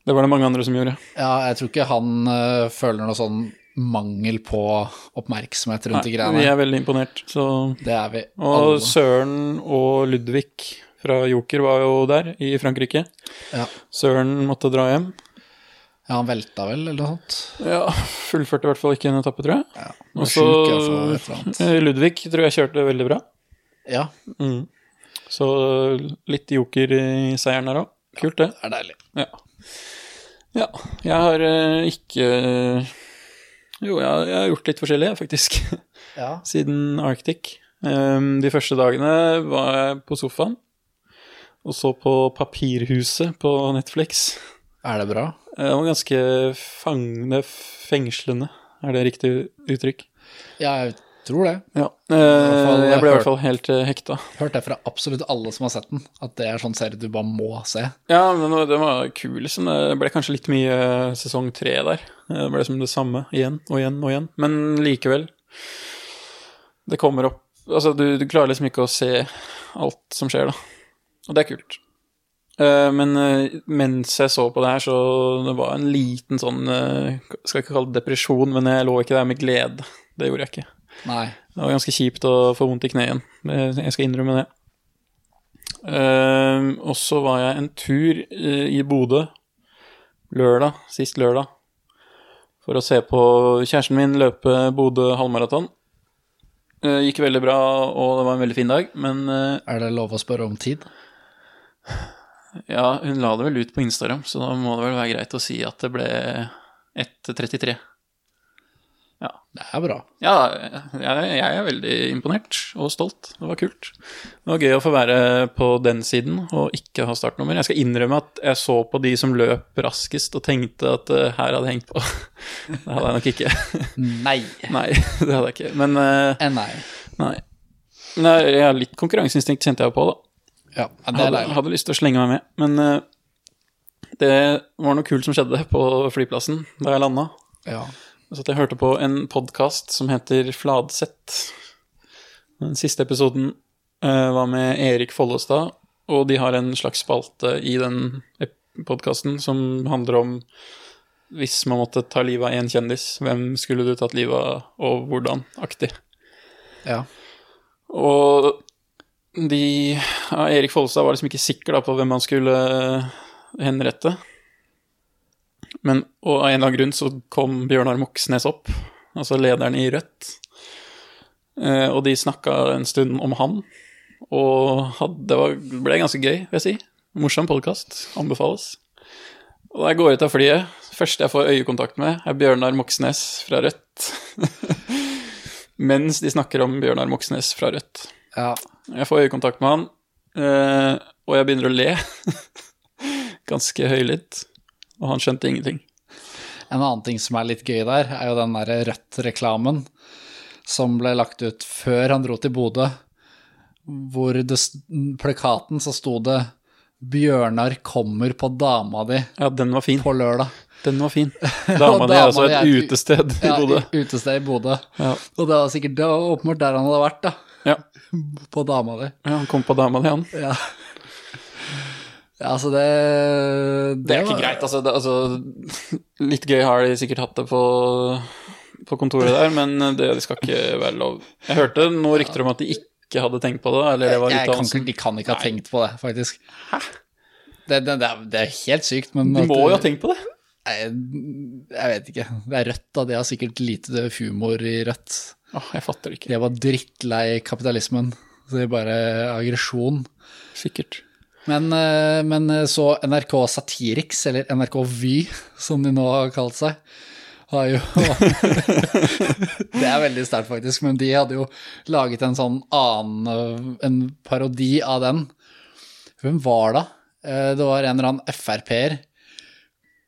[SPEAKER 1] det var det mange andre som gjorde.
[SPEAKER 2] Ja, jeg tror ikke han eh, føler noe sånn mangel på oppmerksomhet rundt
[SPEAKER 1] Nei,
[SPEAKER 2] de
[SPEAKER 1] vi
[SPEAKER 2] greiene.
[SPEAKER 1] er veldig imponert, så
[SPEAKER 2] Det er vi.
[SPEAKER 1] Og
[SPEAKER 2] alle.
[SPEAKER 1] Søren og Ludvig fra Joker var jo der, i Frankrike.
[SPEAKER 2] Ja.
[SPEAKER 1] Søren måtte dra hjem.
[SPEAKER 2] Ja, han velta vel, eller noe sånt.
[SPEAKER 1] Ja, fullførte i hvert fall ikke en etappe, tror jeg.
[SPEAKER 2] Han
[SPEAKER 1] Og
[SPEAKER 2] var
[SPEAKER 1] så
[SPEAKER 2] sjuk, i hvert fall, et eller annet.
[SPEAKER 1] eh, Ludvig tror jeg kjørte veldig bra.
[SPEAKER 2] Ja,
[SPEAKER 1] Mm. Så litt joker i seieren her òg. Kult, det.
[SPEAKER 2] det er deilig.
[SPEAKER 1] Ja. ja. Jeg har eh, ikke Jo, jeg, jeg har gjort litt forskjellig, jeg, faktisk,
[SPEAKER 2] Ja.
[SPEAKER 1] siden Arctic. Ehm, de første dagene var jeg på sofaen og så på Papirhuset på Netflix.
[SPEAKER 2] Er det bra?
[SPEAKER 1] Eh, Det var ganske fangende, fengslende, er det riktig uttrykk?
[SPEAKER 2] Ja, jeg tror det.
[SPEAKER 1] Ja.
[SPEAKER 2] fall
[SPEAKER 1] Eh, jeg ble i
[SPEAKER 2] hørt-
[SPEAKER 1] hvert fall helt eh, hekta.
[SPEAKER 2] Hørt det fra absolutt alle som har sett den, at det er sånn serie du bare må se.
[SPEAKER 1] Ja, men det var- den var kul, liksom. Det ble kanskje litt mye eh, sesong tre der. Det ble som det samme igjen og igjen og igjen. Men likevel. Det kommer opp Altså, du, du klarer liksom ikke å se alt som skjer, da. Og det er kult. Eh, Men eh, mens jeg så på det her, så det var en liten sånn eh, Skal ikke kalle det depresjon, men jeg lå ikke der med glede. Det gjorde jeg ikke.
[SPEAKER 2] Nei.
[SPEAKER 1] Det var ganske kjipt å få vondt i kneet igjen. Det- Jeg skal innrømme det. Ehm, og så var jeg en tur eh, i Bodø lørdag, sist lørdag, for å se på kjæresten min løpe Bodø halvmaraton. Eh, gikk veldig bra, og det var en veldig fin dag, men eh,
[SPEAKER 2] Er det lov å spørre om tid?
[SPEAKER 1] ja, hun la det vel ut på Instagram, så da må det vel være greit å si at det ble 1.33.
[SPEAKER 2] Det er bra.
[SPEAKER 1] Ja, jeg, jeg er veldig imponert og stolt. Det var kult. Det var gøy å få være på den siden og ikke ha startnummer. Jeg skal innrømme at jeg så på de som løp raskest og tenkte at eh, her hadde jeg hengt på. Det hadde jeg nok ikke.
[SPEAKER 2] Nei.
[SPEAKER 1] Nei, det hadde jeg ikke. Men eh,
[SPEAKER 2] Eh, Nei.
[SPEAKER 1] nei. nei jeg har litt konkurranseinstinkt kjente jeg jo på, da.
[SPEAKER 2] Ja, det er
[SPEAKER 1] Hadde,
[SPEAKER 2] deilig.
[SPEAKER 1] hadde lyst til å slenge meg med, men eh, det var noe kult som skjedde på flyplassen da jeg landa.
[SPEAKER 2] Ja.
[SPEAKER 1] Så at jeg hørte på en podkast som heter Fladsett. Den siste episoden eh, var med Erik Follestad, og de har en slags spalte i den podkasten som handler om hvis man måtte ta livet av én kjendis, hvem skulle du tatt livet av, og hvordan? Aktig.
[SPEAKER 2] ja.
[SPEAKER 1] Og de ja, Erik Follestad var liksom ikke sikker da, på hvem han skulle eh, henrette. Men og av en eller annen grunn så kom Bjørnar Moxnes opp, altså lederen i Rødt. Eh, og de snakka en stund om han, og hadde, det var, ble ganske gøy, vil jeg si. Morsom podkast. Anbefales. Og da jeg går ut av flyet, første jeg får øyekontakt med, er Bjørnar Moxnes fra Rødt. Mens de snakker om Bjørnar Moxnes fra Rødt.
[SPEAKER 2] ja.
[SPEAKER 1] Jeg får øyekontakt med han, eh, og jeg begynner å le. Ganske høylytt. Og han skjønte ingenting.
[SPEAKER 2] En annen ting som er litt gøy der, er jo den derre Rødt-reklamen som ble lagt ut før han dro til Bodø, hvor det, s- plakaten så sto det 'Bjørnar kommer på dama di
[SPEAKER 1] Ja, den var fin.
[SPEAKER 2] på lørdag'.
[SPEAKER 1] Den var fin. Dama di er altså et
[SPEAKER 2] di er et u-
[SPEAKER 1] utested i
[SPEAKER 2] Ja,
[SPEAKER 1] Bodø.
[SPEAKER 2] utested i Bodø.
[SPEAKER 1] Ja.
[SPEAKER 2] Og det var sikkert det var åpenbart der han hadde vært, da.
[SPEAKER 1] Ja.
[SPEAKER 2] På dama di.
[SPEAKER 1] ja, han kom på dama di, han.
[SPEAKER 2] Ja. ja, altså det
[SPEAKER 1] Det er ikke
[SPEAKER 2] var-
[SPEAKER 1] greit, altså. Det, altså litt gøy har de sikkert hatt det på, på kontoret der, men det, det skal ikke være lov. Jeg hørte noen rykter om at de ikke hadde tenkt på det, eller det var sånn-
[SPEAKER 2] Jeg kan,
[SPEAKER 1] uttalelsen.
[SPEAKER 2] ikke- de kan ikke ha tenkt på det, faktisk. Det, det, det, er, det er helt sykt, men
[SPEAKER 1] De
[SPEAKER 2] at-
[SPEAKER 1] må jo ha tenkt på det.
[SPEAKER 2] Nei, jeg vet ikke. Det er rødt, da. De har sikkert lite humor i rødt.
[SPEAKER 1] Åh, jeg fatter det ikke.
[SPEAKER 2] De er bare drittlei kapitalismen. Så det er bare aggresjon.
[SPEAKER 1] Sikkert.
[SPEAKER 2] Men, eh, men så NRK Satiriks, eller NRK Vy, som de nå har kalt seg, har jo Det er veldig sterkt, faktisk, men de hadde jo laget en sånn annen eh, En parodi av den. Hvem var det? Eh, Det var en eller annen Frp-er.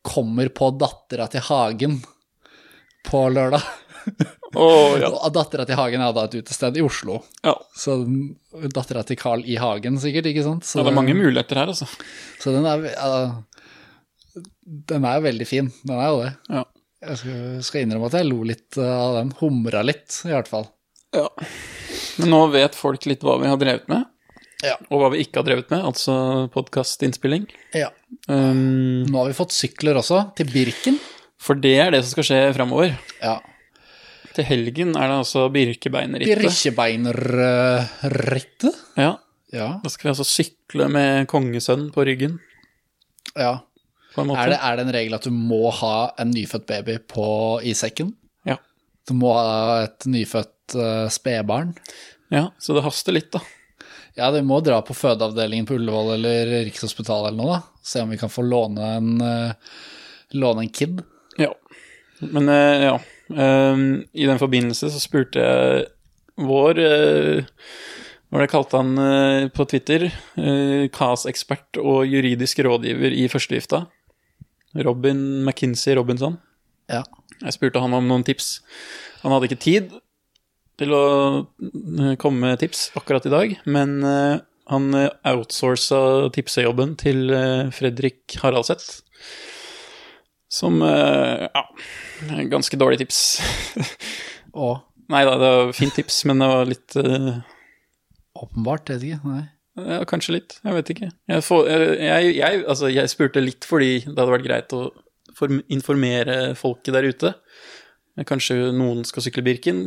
[SPEAKER 2] Kommer på dattera til Hagen på lørdag.
[SPEAKER 1] Å, ja.
[SPEAKER 2] Og Dattera til Hagen er da et utested i Oslo.
[SPEAKER 1] ja.
[SPEAKER 2] Så dattera til Carl I. Hagen, sikkert, ikke sant? Så
[SPEAKER 1] Ja, det er mange muligheter her, altså.
[SPEAKER 2] så den er, ja, den er jo veldig fin, den er jo det.
[SPEAKER 1] Ja.
[SPEAKER 2] Jeg skal, skal innrømme at jeg lo litt av den, humra litt i hvert fall.
[SPEAKER 1] Men nå vet folk litt hva vi har drevet med,
[SPEAKER 2] Ja.
[SPEAKER 1] og hva vi ikke har drevet med, altså podkastinnspilling.
[SPEAKER 2] Ja.
[SPEAKER 1] Um,
[SPEAKER 2] Nå har vi fått sykler også, til Birken.
[SPEAKER 1] for det er det som skal skje framover.
[SPEAKER 2] Ja.
[SPEAKER 1] Til helgen er det altså Birkebeinerrittet.
[SPEAKER 2] Birkebeinerrittet.
[SPEAKER 1] Ja,
[SPEAKER 2] Ja.
[SPEAKER 1] da skal vi altså sykle med kongesønn på ryggen,
[SPEAKER 2] ja.
[SPEAKER 1] på en måte.
[SPEAKER 2] Er, det, er det en regel at du må ha en nyfødt baby på, i sekken?
[SPEAKER 1] Ja.
[SPEAKER 2] Du må ha et nyfødt eh, spedbarn?
[SPEAKER 1] Ja, så det haster litt, da.
[SPEAKER 2] Ja, du må dra på fødeavdelingen på Ullevål eller Rikshospitalet eller noe, da. Se om vi kan få låne en, eh, låne en kid.
[SPEAKER 1] Ja. Men eh, ja, ehm, i den forbindelse så spurte jeg vår eh, Hva var det jeg kalte han eh, på Twitter? Eh, KAS-ekspert og juridisk rådgiver i førstegifta. Robin McKinsey Robinson.
[SPEAKER 2] Ja.
[SPEAKER 1] Jeg spurte han om noen tips. Han hadde ikke tid til å eh, komme med tips akkurat i dag, men eh, han eh, outsourca tipsejobben til eh, Fredrik Haraldseth. Som eh, ja, ganske dårlig tips.
[SPEAKER 2] Og
[SPEAKER 1] Nei da, det var fint tips, men det var litt eh,
[SPEAKER 2] åpenbart, vet ikke. Nei.
[SPEAKER 1] ja, Kanskje litt, jeg vet ikke. Jeg, får, eh, jeg, jeg, altså, jeg spurte litt fordi det hadde vært greit å form- informere folket der ute. Kanskje noen skal sykle Birken,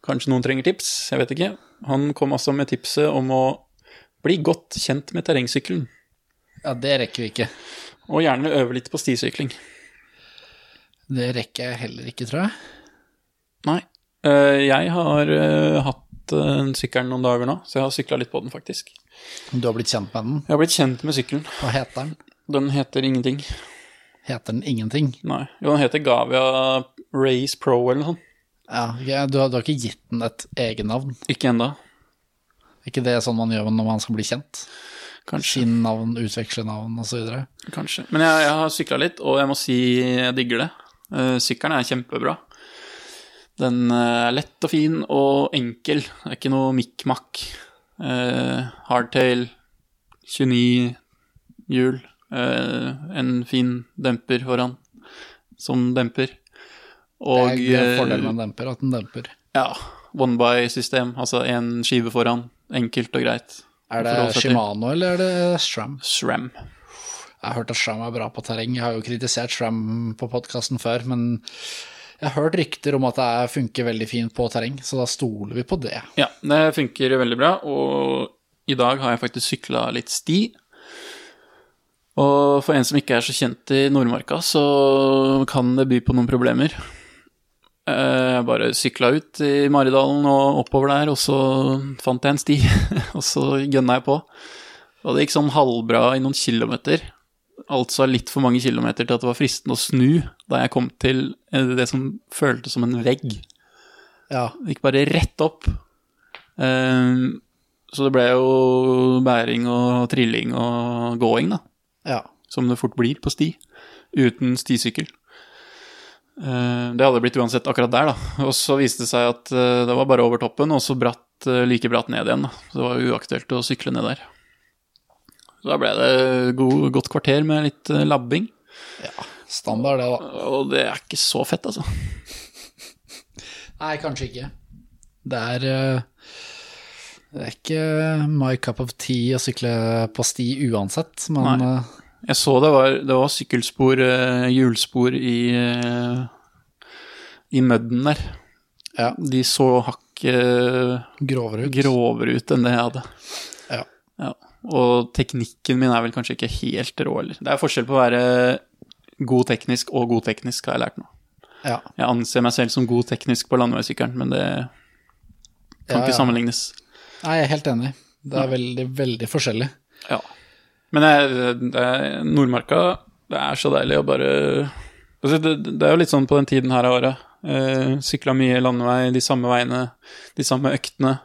[SPEAKER 1] kanskje noen trenger tips, jeg vet ikke. Han kom altså med tipset om å bli godt kjent med terrengsykkelen,
[SPEAKER 2] Ja, det rekker vi ikke.
[SPEAKER 1] og gjerne øve litt på stisykling.
[SPEAKER 2] Det rekker jeg heller ikke, tror jeg.
[SPEAKER 1] Nei. Eh, Jeg har eh, hatt eh, sykkelen noen dager nå, så jeg har sykla litt på den, faktisk.
[SPEAKER 2] Du har blitt kjent med den.
[SPEAKER 1] Jeg har blitt kjent med sykkelen.
[SPEAKER 2] Hva heter den?
[SPEAKER 1] Den heter ingenting.
[SPEAKER 2] heter den ingenting.
[SPEAKER 1] Nei. Jo, den heter Gavia Race Pro eller noe sånt.
[SPEAKER 2] Ja, ok, du, har, du har ikke gitt den et egennavn?
[SPEAKER 1] Ikke ennå.
[SPEAKER 2] Er ikke det sånn man gjør når man skal bli kjent?
[SPEAKER 1] Kanskje.
[SPEAKER 2] Finne navn, utveksle navn osv.?
[SPEAKER 1] Kanskje. Men jeg, jeg har sykla litt, og jeg må si jeg digger det. Eh, Sykkelen er kjempebra. Den eh, er lett og fin og enkel. Det er ikke noe mikk-makk. Eh, hardtail, 29 hjul, eh, en fin demper foran som demper. Og
[SPEAKER 2] Det er fordelen
[SPEAKER 1] eh,
[SPEAKER 2] med en demper, at den demper.
[SPEAKER 1] ja, one-by-system, altså én skive foran. Enkelt og greit.
[SPEAKER 2] Er det
[SPEAKER 1] Forhold til-
[SPEAKER 2] Shimano eller er det Shram?
[SPEAKER 1] SRAM.
[SPEAKER 2] Jeg har hørt at Shram er bra på terreng. Jeg har jo kritisert Shram på podkasten før, men jeg har hørt rykter om at det er- funker veldig fint på terreng, så da stoler vi på det.
[SPEAKER 1] Ja, det funker veldig bra, og i dag har jeg faktisk sykla litt sti. Og for en som ikke er så kjent i Nordmarka, så kan det by på noen problemer. Eh, Jeg bare sykla ut i Maridalen og oppover der, og så fant jeg en sti, og så gønna jeg på. Og det gikk sånn halvbra i noen kilometer, altså litt for mange kilometer til at det var fristende å snu da jeg kom til eh, det som føltes som en vegg.
[SPEAKER 2] Ja,
[SPEAKER 1] Det gikk bare rett opp. Ehm, så det ble jo bæring og trilling og gåing, da.
[SPEAKER 2] ja.
[SPEAKER 1] Som det fort blir på sti. Uten stisykkel. Ehm, det hadde blitt uansett akkurat der, da. Og så viste det seg at eh, det var bare over toppen, og så bratt, eh, like bratt ned igjen. Da. Så det var jo uaktuelt å sykle ned der. Så da ble det god, godt kvarter med litt eh, labbing.
[SPEAKER 2] Standard, det, da.
[SPEAKER 1] Og det er ikke så fett, altså.
[SPEAKER 2] Nei, kanskje ikke. Det er eh, Det er ikke my cup of tea å sykle på sti uansett, men
[SPEAKER 1] Nei.
[SPEAKER 2] eh,
[SPEAKER 1] Jeg så det var, det var sykkelspor, eh, hjulspor i, eh, i mudden der.
[SPEAKER 2] ja,
[SPEAKER 1] De så hakket
[SPEAKER 2] grovere ut.
[SPEAKER 1] grovere ut enn det jeg hadde.
[SPEAKER 2] Ja.
[SPEAKER 1] Ja. Og teknikken min er vel kanskje ikke helt rå, eller. Det er forskjell på å være god teknisk og god teknisk, har jeg lært nå.
[SPEAKER 2] Ja.
[SPEAKER 1] Jeg anser meg selv som god teknisk på landeveissykkelen, men det kan
[SPEAKER 2] Ja,
[SPEAKER 1] ikke
[SPEAKER 2] ja.
[SPEAKER 1] sammenlignes.
[SPEAKER 2] Nei, jeg er helt enig. Det er veldig, veldig forskjellig.
[SPEAKER 1] Ja. Men det, det er Nordmarka Det er så deilig å bare altså det, det er jo litt sånn på den tiden her av året. Eh, Sykla mye landevei, de samme veiene, de samme øktene.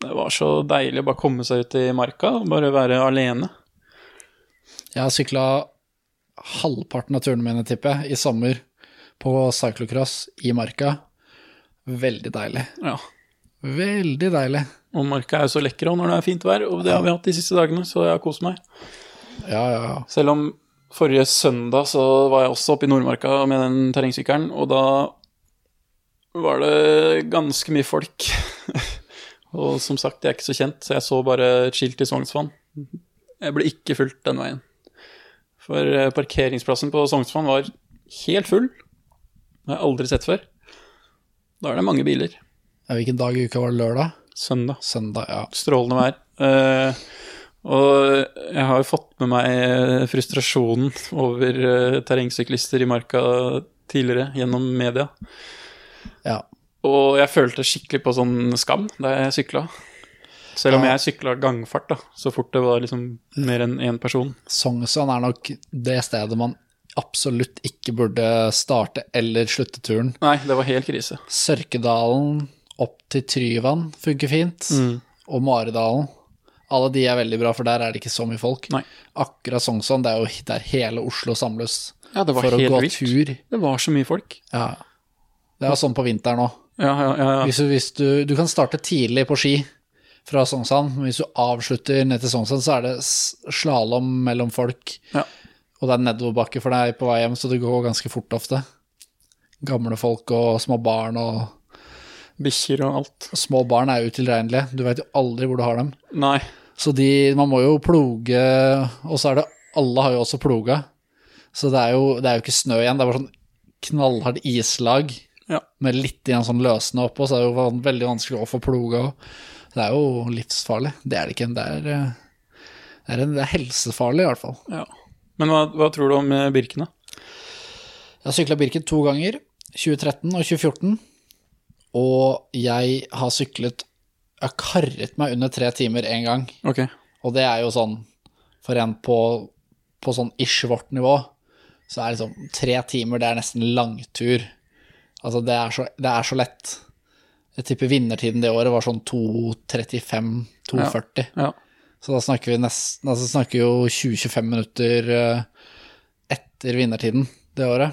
[SPEAKER 1] Det var så deilig å bare komme seg ut i marka og bare være alene.
[SPEAKER 2] Jeg har sykla halvparten av turene mine, tipper jeg, i sommer på cyclocross i marka. Veldig deilig.
[SPEAKER 1] Ja.
[SPEAKER 2] Veldig deilig.
[SPEAKER 1] Og marka er jo så lekker òg når det er fint vær, og det har vi hatt de siste dagene, så jeg har kost meg.
[SPEAKER 2] Ja, ja, ja.
[SPEAKER 1] Selv om forrige søndag så var jeg også oppe i Nordmarka med den terrengsykkelen, og da var det ganske mye folk. og som sagt, jeg er ikke så kjent, så jeg så bare et skilt i Sognsvann. Jeg ble ikke fulgt den veien. For eh, parkeringsplassen på Sognsvann var helt full. Det har jeg aldri sett før. Da er det mange biler.
[SPEAKER 2] ja hvilken dag i uka var det? Lørdag?
[SPEAKER 1] Søndag
[SPEAKER 2] Søndag, ja.
[SPEAKER 1] strålende vær. Eh, og jeg har jo fått med meg eh, frustrasjonen over eh, terrengsyklister i marka tidligere gjennom media.
[SPEAKER 2] ja.
[SPEAKER 1] Og jeg følte skikkelig på sånn skam da jeg sykla. Selv om
[SPEAKER 2] Ja.
[SPEAKER 1] jeg sykla gangfart, da, så fort det var liksom mer enn én person.
[SPEAKER 2] Sognsvann er nok det stedet man absolutt ikke burde starte eller slutte turen.
[SPEAKER 1] Nei, det var helt krise.
[SPEAKER 2] Sørkedalen opp til Tryvann funker fint.
[SPEAKER 1] Mm.
[SPEAKER 2] Og Maridalen. Alle de er veldig bra, for der er det ikke så mye folk.
[SPEAKER 1] Nei.
[SPEAKER 2] Akkurat Sognsvann, det er jo der hele Oslo samles
[SPEAKER 1] Ja, det var
[SPEAKER 2] for å
[SPEAKER 1] helt
[SPEAKER 2] gå
[SPEAKER 1] vilt.
[SPEAKER 2] tur.
[SPEAKER 1] Det var så mye folk.
[SPEAKER 2] Ja. Det er jo sånn på vinteren òg.
[SPEAKER 1] Ja, ja, ja. ja.
[SPEAKER 2] Hvis, du- hvis du, du kan starte tidlig på ski fra Sognsvann, men hvis du avslutter ned til Sognsvann, så er det slalåm mellom folk.
[SPEAKER 1] Ja.
[SPEAKER 2] Og det er nedoverbakke for deg på vei hjem, så det går ganske fort ofte. Gamle folk og små barn, og
[SPEAKER 1] Bikkjer og alt.
[SPEAKER 2] små barn er jo utilregnelige. Du veit jo aldri hvor du har dem.
[SPEAKER 1] Nei.
[SPEAKER 2] Så de, man må jo ploge, og så er det Alle har jo også ploga. Så det er jo, det er jo ikke snø igjen, det er bare sånn knallhardt islag
[SPEAKER 1] Ja.
[SPEAKER 2] med litt igjen sånn løsende oppå, så er det jo van- veldig vanskelig å få ploga òg. Det er jo livsfarlig. Det er det ikke. Det er, eh, det er, en, det er helsefarlig, i hvert fall.
[SPEAKER 1] ja. Men hva, hva tror du om eh, Birken, da?
[SPEAKER 2] Jeg har sykla Birken to ganger, 2013 og 2014. Og jeg har syklet Jeg har karret meg under tre timer én gang.
[SPEAKER 1] Ok.
[SPEAKER 2] Og det er jo sånn For en på, på sånn ish vårt nivå, så er liksom tre timer det er nesten langtur. Altså, det er så, det er så lett. Jeg tipper vinnertiden det året var sånn 2.35-2.40.
[SPEAKER 1] Ja.
[SPEAKER 2] Så da snakker vi nesten altså snakker vi jo 20-25 minutter eh, etter vinnertiden det året.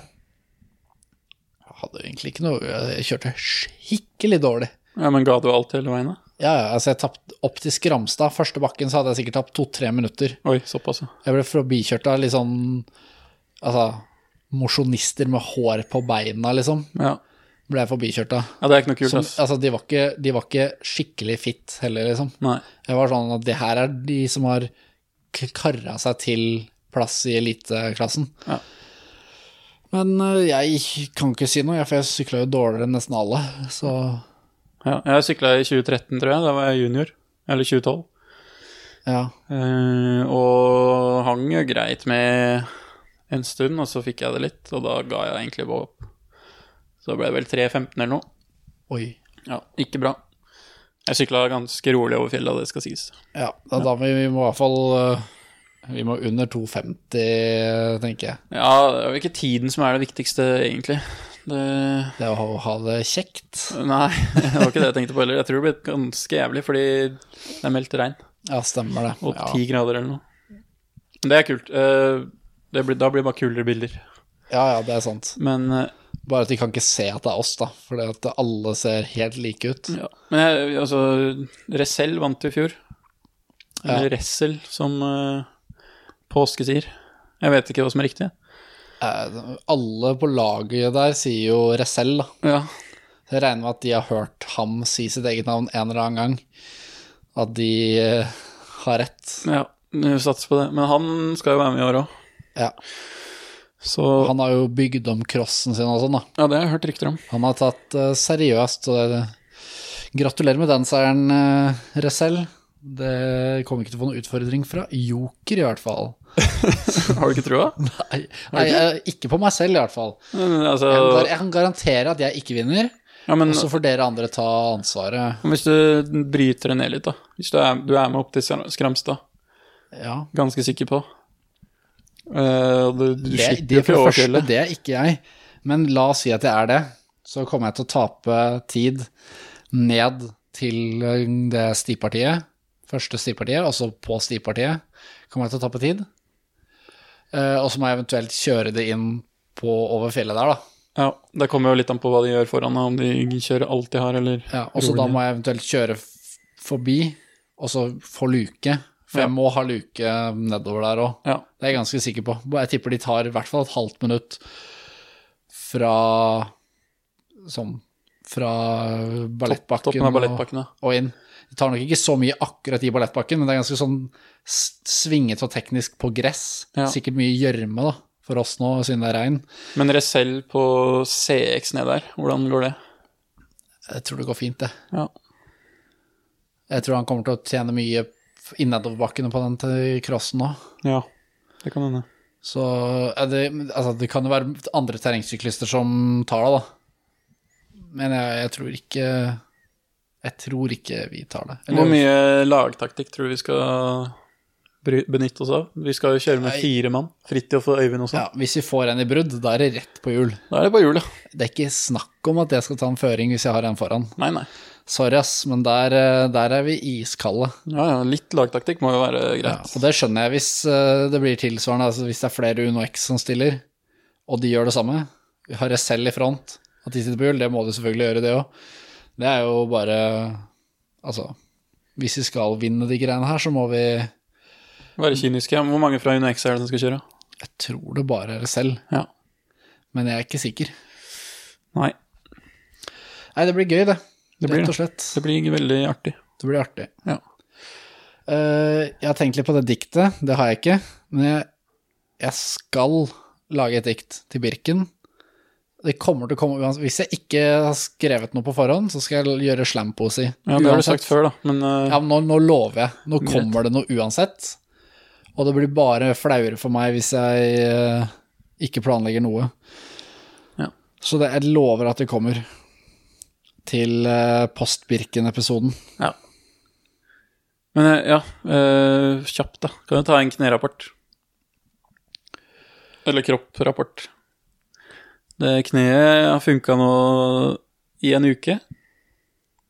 [SPEAKER 2] Jeg hadde egentlig ikke noe Jeg kjørte skikkelig dårlig.
[SPEAKER 1] ja, men ga du alt hele veien, da?
[SPEAKER 2] Ja, ja, altså jeg tapt, Opp til Skramstad, første bakken, så hadde jeg sikkert tapt to-tre minutter.
[SPEAKER 1] Oi, såpass, ja.
[SPEAKER 2] Jeg ble forbikjørt av litt sånn Altså, mosjonister med hår på beina, liksom,
[SPEAKER 1] ja.
[SPEAKER 2] ble jeg forbikjørt av.
[SPEAKER 1] Ja, det er ikke noe kult,
[SPEAKER 2] Som,
[SPEAKER 1] ass.
[SPEAKER 2] altså, de var, ikke, de var ikke skikkelig fit heller, liksom.
[SPEAKER 1] Nei.
[SPEAKER 2] Jeg var sånn at det her er de som har k- karra seg til plass i eliteklassen.
[SPEAKER 1] Ja.
[SPEAKER 2] Men eh, jeg kan ikke si noe, jeg- for jeg sykla jo dårligere enn nesten alle. Så
[SPEAKER 1] Ja, jeg sykla i 2013, tror jeg. Da var jeg junior. Eller 2012.
[SPEAKER 2] ja.
[SPEAKER 1] Eh, og hang jo greit med en stund, og så fikk jeg det litt, og da ga jeg egentlig bare opp. Så det ble vel 3.15 eller noe.
[SPEAKER 2] Oi.
[SPEAKER 1] Ja, ikke bra. Jeg sykla ganske rolig over fjellet, det skal sies.
[SPEAKER 2] Ja, da, da må vi, vi må i hvert fall eh, Vi må under 2,50, tenker jeg.
[SPEAKER 1] Ja, det er jo ikke tiden som er det viktigste, egentlig. Det
[SPEAKER 2] Det er å ha det kjekt.
[SPEAKER 1] Nei, det var ikke det jeg tenkte på heller. Jeg tror det ble ganske jævlig, fordi det er meldt regn.
[SPEAKER 2] Ja, stemmer det.
[SPEAKER 1] Og
[SPEAKER 2] Ja.
[SPEAKER 1] ti grader eller noe. Men det er kult. Eh, Det blir, da blir det bare kulere bilder.
[SPEAKER 2] ja, ja, det er sant.
[SPEAKER 1] Men eh,
[SPEAKER 2] Bare at de kan ikke se at det er oss, da. Fordi at alle ser helt like ut.
[SPEAKER 1] Ja. Men jeg, altså, Resell vant jo i fjor. Eller Ressel, som eh, påske sier. Jeg vet ikke hva som er riktig.
[SPEAKER 2] Eh, Alle på laget der sier jo Resell, da.
[SPEAKER 1] Ja.
[SPEAKER 2] Så Jeg regner med at de har hørt ham si sitt eget navn en eller annen gang. At de eh, har rett.
[SPEAKER 1] ja vi satser på det. Men han skal jo være med i år òg,
[SPEAKER 2] Ja.
[SPEAKER 1] så
[SPEAKER 2] Han har jo bygd om crossen sin og sånn, da.
[SPEAKER 1] Ja, det har jeg hørt rykter om.
[SPEAKER 2] Han har tatt eh, seriøst, og det, gratulerer med den seieren, uh, Resell. Det kommer ikke til å få noen utfordring fra Joker, i hvert fall.
[SPEAKER 1] Har du ikke trua?
[SPEAKER 2] Nei, nei eh, ikke på meg selv, i hvert fall.
[SPEAKER 1] Men,
[SPEAKER 2] Jeg kan,
[SPEAKER 1] altså,
[SPEAKER 2] gar- jeg kan garantere at jeg ikke vinner,
[SPEAKER 1] ja, men
[SPEAKER 2] og så får dere andre ta ansvaret.
[SPEAKER 1] hvis du bryter det ned litt, da. Hvis du er, du er med opp til Skram- Skramstad,
[SPEAKER 2] Ja.
[SPEAKER 1] ganske sikker på. Eh, du, du
[SPEAKER 2] Det,
[SPEAKER 1] slipper
[SPEAKER 2] det,
[SPEAKER 1] jo
[SPEAKER 2] for
[SPEAKER 1] ikke
[SPEAKER 2] det
[SPEAKER 1] over
[SPEAKER 2] første,
[SPEAKER 1] fjellet.
[SPEAKER 2] det er ikke jeg. Men la oss si at jeg er det. Så kommer jeg til å tape tid ned til eh, det stipartiet. Første stipartiet, og så på stipartiet. Kommer jeg til å tape tid. Eh, og så må jeg eventuelt kjøre det inn på over fjellet der, da.
[SPEAKER 1] Ja, det kommer jo litt an på hva de gjør foran, og om de kjører alt de har, eller
[SPEAKER 2] Ja, og så da må jeg eventuelt kjøre f- forbi, og så få luke. For
[SPEAKER 1] Ja.
[SPEAKER 2] jeg må ha luke nedover der òg.
[SPEAKER 1] Ja.
[SPEAKER 2] Det er jeg ganske sikker på. Jeg tipper de tar i hvert fall et halvt minutt fra sånn fra ballettbakken,
[SPEAKER 1] Toppen av ballettpakken, ja.
[SPEAKER 2] og, og inn. De tar nok ikke så mye akkurat i ballettbakken, men det er ganske sånn s- svingete og teknisk på gress.
[SPEAKER 1] Ja.
[SPEAKER 2] Sikkert mye gjørme, da, for oss nå, siden det er regn.
[SPEAKER 1] Men Resell på CX ned der, hvordan går det?
[SPEAKER 2] Jeg tror det går fint, det.
[SPEAKER 1] Ja.
[SPEAKER 2] Jeg tror han kommer til å tjene mye f- i nedoverbakkene på den til crossen nå.
[SPEAKER 1] ja. Det kan hende.
[SPEAKER 2] Så er det, altså, det kan jo være andre terrengsyklister som tar det, da. Men jeg, jeg tror ikke Jeg tror ikke vi tar det. Eller-
[SPEAKER 1] Hvor mye lagtaktikk tror du vi skal bry- benytte oss av? Vi skal jo kjøre med
[SPEAKER 2] Nei.
[SPEAKER 1] fire mann. Fridtjof og Øyvind også.
[SPEAKER 2] ja, hvis vi får en i brudd, da er det rett på hjul.
[SPEAKER 1] Da er det på hjulet.
[SPEAKER 2] Det er ikke snakk om at jeg skal ta en føring hvis jeg har en foran.
[SPEAKER 1] Nei, nei.
[SPEAKER 2] Sorry, ass, men der, eh, der er vi iskalde.
[SPEAKER 1] Ja, ja, litt lagtaktikk må jo være
[SPEAKER 2] Ja,
[SPEAKER 1] greit.
[SPEAKER 2] og det skjønner jeg hvis eh, det blir tilsvarende, altså hvis det er flere Uno X som stiller, og de gjør det samme. Vi har Resell i front, at de sitter på hjul, det må de selvfølgelig gjøre, det òg. Det er jo bare Altså, hvis vi skal vinne de greiene her, så må vi Jeg
[SPEAKER 1] Være kyniske. Ja, men Hvor mange fra UNX er det som skal kjøre?
[SPEAKER 2] tror det bare er Resell,
[SPEAKER 1] Ja.
[SPEAKER 2] men jeg er ikke sikker.
[SPEAKER 1] Nei.
[SPEAKER 2] Nei, det blir gøy, det.
[SPEAKER 1] Det blir
[SPEAKER 2] Rett og slett.
[SPEAKER 1] Det blir veldig artig.
[SPEAKER 2] Det blir artig.
[SPEAKER 1] Ja.
[SPEAKER 2] Eh, jeg har tenkt litt på det diktet, det har jeg ikke. Men jeg, jeg skal lage et dikt til Birken. Det kommer til å komme uansett. Hvis jeg ikke har skrevet noe på forhånd, så skal jeg gjøre slampoesi.
[SPEAKER 1] Ja, det har du
[SPEAKER 2] Uansett.
[SPEAKER 1] sagt før, da, men eh,
[SPEAKER 2] Ja, men nå, nå lover jeg. Nå
[SPEAKER 1] Greit.
[SPEAKER 2] kommer det noe uansett. Og det blir bare flauere for meg hvis jeg eh, ikke planlegger noe.
[SPEAKER 1] Ja.
[SPEAKER 2] Så det, jeg lover at det kommer til uh, Post-Birken-episoden.
[SPEAKER 1] ja. Men eh, ja, eh, kjapt, da. Kan du ta en knerapport? Eller kropp-rapport. Det kneet har funka nå i en uke.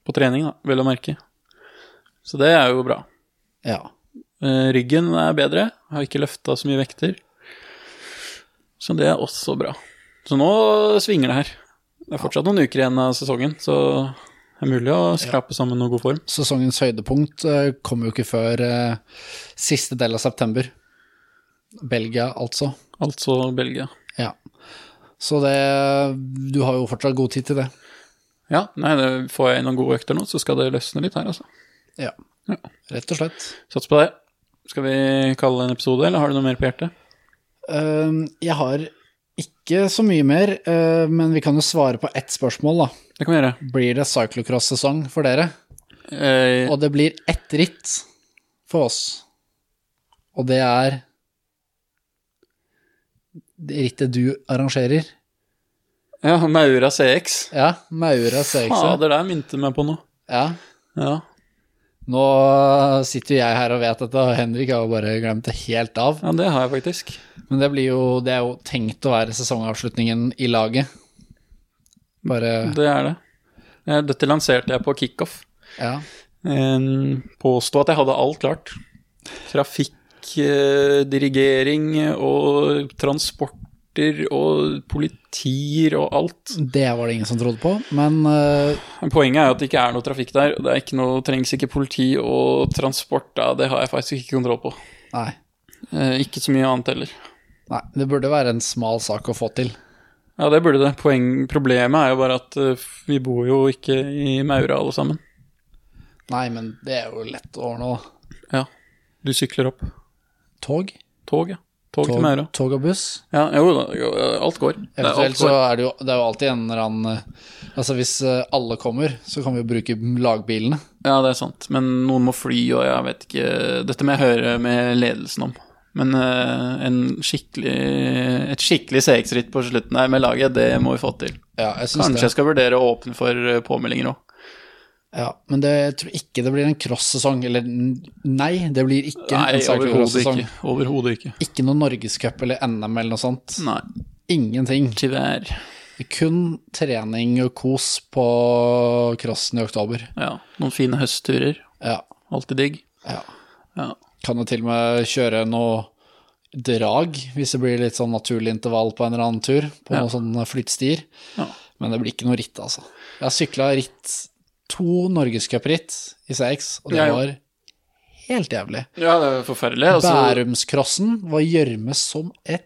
[SPEAKER 1] På trening, da, vel å merke. Så det er jo bra.
[SPEAKER 2] Ja.
[SPEAKER 1] Eh, Ryggen er bedre, har ikke løfta så mye vekter. Så det er også bra. Så nå svinger det her. Det er fortsatt noen uker igjen av sesongen, så det er mulig å skrape sammen noe god form.
[SPEAKER 2] Sesongens høydepunkt eh, kom jo ikke før eh, siste del av september. Belgia, altså.
[SPEAKER 1] Altså Belgia.
[SPEAKER 2] Ja. Så det Du har jo fortsatt god tid til det.
[SPEAKER 1] Ja, nei, det får jeg inn noen gode økter nå, så skal det løsne litt her, altså.
[SPEAKER 2] Ja.
[SPEAKER 1] Ja.
[SPEAKER 2] Rett og slett.
[SPEAKER 1] Sats på det. Skal vi kalle det en episode, eller har du noe mer på hjertet?
[SPEAKER 2] Ehm, jeg har ikke så mye mer, eh, men vi kan jo svare på ett spørsmål, da.
[SPEAKER 1] Det kan vi gjøre.
[SPEAKER 2] Blir det cyclocross-sesong for dere?
[SPEAKER 1] Eh,
[SPEAKER 2] Og det blir ett ritt for oss. Og det er det rittet du arrangerer.
[SPEAKER 1] ja, Maura CX.
[SPEAKER 2] Ja, Maura Søgse.
[SPEAKER 1] Fader, der minte meg på noe.
[SPEAKER 2] Ja.
[SPEAKER 1] Ja.
[SPEAKER 2] Nå sitter jo jeg her og vet dette, og Henrik har jo bare glemt det helt av.
[SPEAKER 1] ja, det har jeg faktisk.
[SPEAKER 2] Men det, blir jo, det er jo tenkt å være sesongavslutningen i laget. Bare
[SPEAKER 1] Det er det. Eh, Dette lanserte jeg på kickoff.
[SPEAKER 2] Ja.
[SPEAKER 1] Eh, Påsto at jeg hadde alt klart. Trafikk, eh, dirigering og transporter og politier og alt.
[SPEAKER 2] Det var det ingen som trodde på, men eh,
[SPEAKER 1] Poenget er jo at det ikke er noe trafikk der. og Det er ikke noe, trengs ikke politi og transport. Da. Det har jeg faktisk ikke kontroll på.
[SPEAKER 2] nei.
[SPEAKER 1] Eh, Ikke så mye annet heller.
[SPEAKER 2] nei. Det burde være en smal sak å få til.
[SPEAKER 1] Ja, det burde det. Poeng, problemet er jo bare at eh, vi bor jo ikke i Maura alle sammen.
[SPEAKER 2] Nei, men det er jo lett å ordne, da.
[SPEAKER 1] Ja. Du sykler opp.
[SPEAKER 2] Tog?
[SPEAKER 1] Tog, ja. Tog, til
[SPEAKER 2] Tog,
[SPEAKER 1] Maura.
[SPEAKER 2] tog og buss?
[SPEAKER 1] Ja, jo da, jo, alt går. Det er
[SPEAKER 2] Eventuelt
[SPEAKER 1] alt
[SPEAKER 2] så
[SPEAKER 1] går.
[SPEAKER 2] er det jo, det er jo alltid en eller annen eh, Altså hvis eh, alle kommer, så kan vi jo bruke lagbilene.
[SPEAKER 1] Ja, det er sant. Men noen må fly, og jeg vet ikke Dette må jeg høre med ledelsen om. Men eh, en skikkelig, et skikkelig CX-ritt på slutten her med laget, det må vi få til.
[SPEAKER 2] Ja, jeg synes
[SPEAKER 1] Kanskje
[SPEAKER 2] det.
[SPEAKER 1] jeg skal vurdere å åpne for eh, påmeldinger òg.
[SPEAKER 2] Ja, men det, jeg tror ikke det blir en cross-sesong. Eller n- nei, det blir ikke
[SPEAKER 1] Nei,
[SPEAKER 2] en
[SPEAKER 1] overhodet
[SPEAKER 2] cyclocross-sesong.
[SPEAKER 1] ikke. Overhodet ikke.
[SPEAKER 2] Ikke noen norgescup eller NM eller noe sånt.
[SPEAKER 1] Nei,
[SPEAKER 2] Ingenting.
[SPEAKER 1] tyvärr.
[SPEAKER 2] Kun trening og kos på crossen i oktober.
[SPEAKER 1] Ja, noen fine høstturer.
[SPEAKER 2] Ja.
[SPEAKER 1] Alltid digg.
[SPEAKER 2] ja.
[SPEAKER 1] Ja.
[SPEAKER 2] Kan jo til og med kjøre noe drag, hvis det blir litt sånn naturlig intervall på en eller annen tur, på
[SPEAKER 1] Ja.
[SPEAKER 2] noen sånne flyttstier.
[SPEAKER 1] Ja.
[SPEAKER 2] Men det blir ikke noe ritt, altså. Jeg har sykla ritt, to norgescupritt i CX, og det
[SPEAKER 1] Jeg
[SPEAKER 2] var helt jævlig.
[SPEAKER 1] ja, det er forferdelig. Altså,
[SPEAKER 2] Bærumskrossen var gjørme som et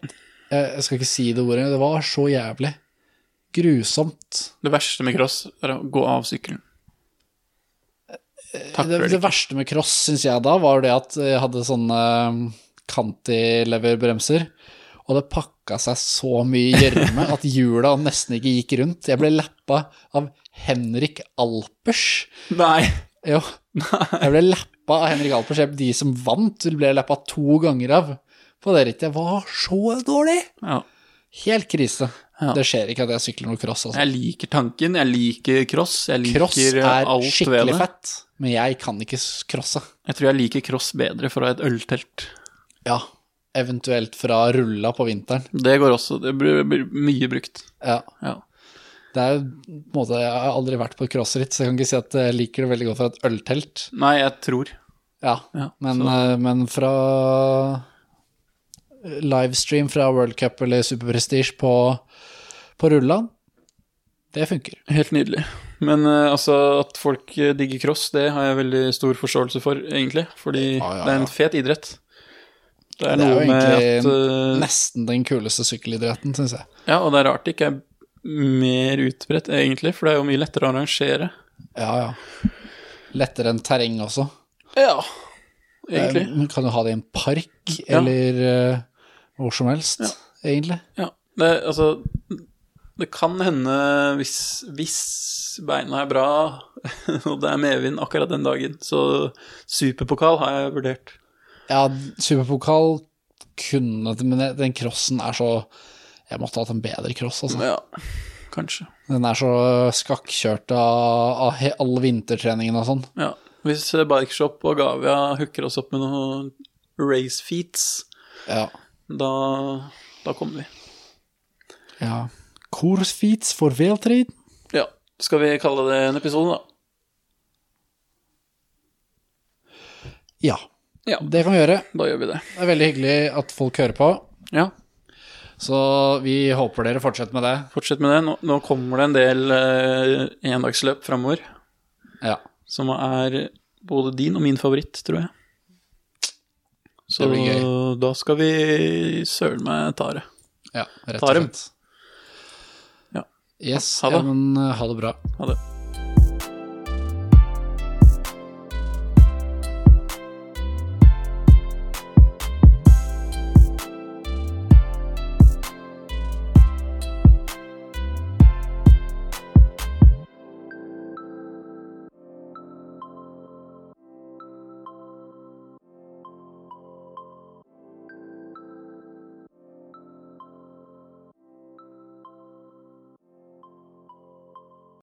[SPEAKER 2] eh, Jeg skal ikke si det ordet, det var så jævlig. Grusomt.
[SPEAKER 1] det verste med cross er å gå av sykkelen.
[SPEAKER 2] Det,
[SPEAKER 1] Takler det
[SPEAKER 2] det
[SPEAKER 1] ikke.
[SPEAKER 2] verste med cross, syns jeg da, var det at jeg hadde sånne cantileverbremser. Og det pakka seg så mye gjørme at hjula nesten ikke gikk rundt. Jeg ble lappa av Henrik Alpers.
[SPEAKER 1] Nei.
[SPEAKER 2] Jo, jeg ble lappa av Henrik Alpers. Jeg- De som vant, ble lappa to ganger av på det rittet. Jeg var så dårlig!
[SPEAKER 1] Ja.
[SPEAKER 2] Helt krise.
[SPEAKER 1] Ja.
[SPEAKER 2] Det skjer ikke at jeg sykler noe cross. Altså.
[SPEAKER 1] Jeg liker tanken, jeg liker cross, jeg liker eh,
[SPEAKER 2] Cross er
[SPEAKER 1] alt ved
[SPEAKER 2] skikkelig
[SPEAKER 1] det.
[SPEAKER 2] fett, men jeg kan ikke s- crosse.
[SPEAKER 1] Jeg tror jeg liker cross bedre fra et øltelt.
[SPEAKER 2] Ja, eventuelt fra rulla på vinteren.
[SPEAKER 1] Det går også, det blir, blir mye brukt.
[SPEAKER 2] Ja,
[SPEAKER 1] Ja.
[SPEAKER 2] det er jo på en måte, Jeg har aldri vært på crossritt, så jeg kan ikke si at jeg liker det veldig godt fra et øltelt.
[SPEAKER 1] Nei, jeg tror.
[SPEAKER 2] Ja,
[SPEAKER 1] Ja,
[SPEAKER 2] men,
[SPEAKER 1] så-
[SPEAKER 2] eh, men fra livestream fra World Cup eller Super Prestige på, på rulla, det funker.
[SPEAKER 1] Helt nydelig. Men eh, altså, at folk eh, digger cross, det har jeg veldig stor forståelse for, egentlig. Fordi
[SPEAKER 2] Ja, ja,
[SPEAKER 1] det er
[SPEAKER 2] ja.
[SPEAKER 1] en fet idrett. Det er
[SPEAKER 2] Det er
[SPEAKER 1] noe
[SPEAKER 2] jo
[SPEAKER 1] med at
[SPEAKER 2] egentlig
[SPEAKER 1] eh,
[SPEAKER 2] Nesten den kuleste sykkelidretten, syns jeg.
[SPEAKER 1] Ja, og det er rart det ikke er mer utbredt, egentlig, for det er jo mye lettere å arrangere.
[SPEAKER 2] Ja, ja. Lettere enn terreng også.
[SPEAKER 1] Ja, egentlig.
[SPEAKER 2] Eh, Kan du ha det i en park,
[SPEAKER 1] Ja.
[SPEAKER 2] eller eh, hvor som helst, egentlig.
[SPEAKER 1] Ja, det, altså Det kan hende, hvis, hvis beina er bra og det er medvind akkurat den dagen, så superpokal har jeg vurdert.
[SPEAKER 2] Ja, superpokal kunne det, men den crossen er så Jeg måtte hatt en bedre cross, altså.
[SPEAKER 1] Ja, kanskje.
[SPEAKER 2] Den er så skakkjørt av, av he- all vintertreningen og sånn.
[SPEAKER 1] Ja. Hvis Bikeshop og Gavia hooker oss opp med noen race feats,
[SPEAKER 2] Ja.
[SPEAKER 1] da Da kom vi.
[SPEAKER 2] Ja. Korsfits for veltrid.
[SPEAKER 1] Ja. Skal vi kalle det en episode, da?
[SPEAKER 2] Ja,
[SPEAKER 1] Ja,
[SPEAKER 2] det kan vi gjøre.
[SPEAKER 1] da gjør vi det.
[SPEAKER 2] Det er veldig hyggelig at folk hører på.
[SPEAKER 1] Ja,
[SPEAKER 2] Så vi håper dere fortsetter med det.
[SPEAKER 1] fortsett med det. Nå, nå kommer det en del eh, endagsløp framover
[SPEAKER 2] Ja.
[SPEAKER 1] som er både din og min favoritt, tror jeg. Så
[SPEAKER 2] Det blir gøy.
[SPEAKER 1] da skal vi søren meg ta det.
[SPEAKER 2] ja rett
[SPEAKER 1] Tar
[SPEAKER 2] og
[SPEAKER 1] dem.
[SPEAKER 2] slett.
[SPEAKER 1] Ja.
[SPEAKER 2] Yes.
[SPEAKER 1] Ha
[SPEAKER 2] Ja,
[SPEAKER 1] det.
[SPEAKER 2] men eh, ha det bra.
[SPEAKER 1] Ha det.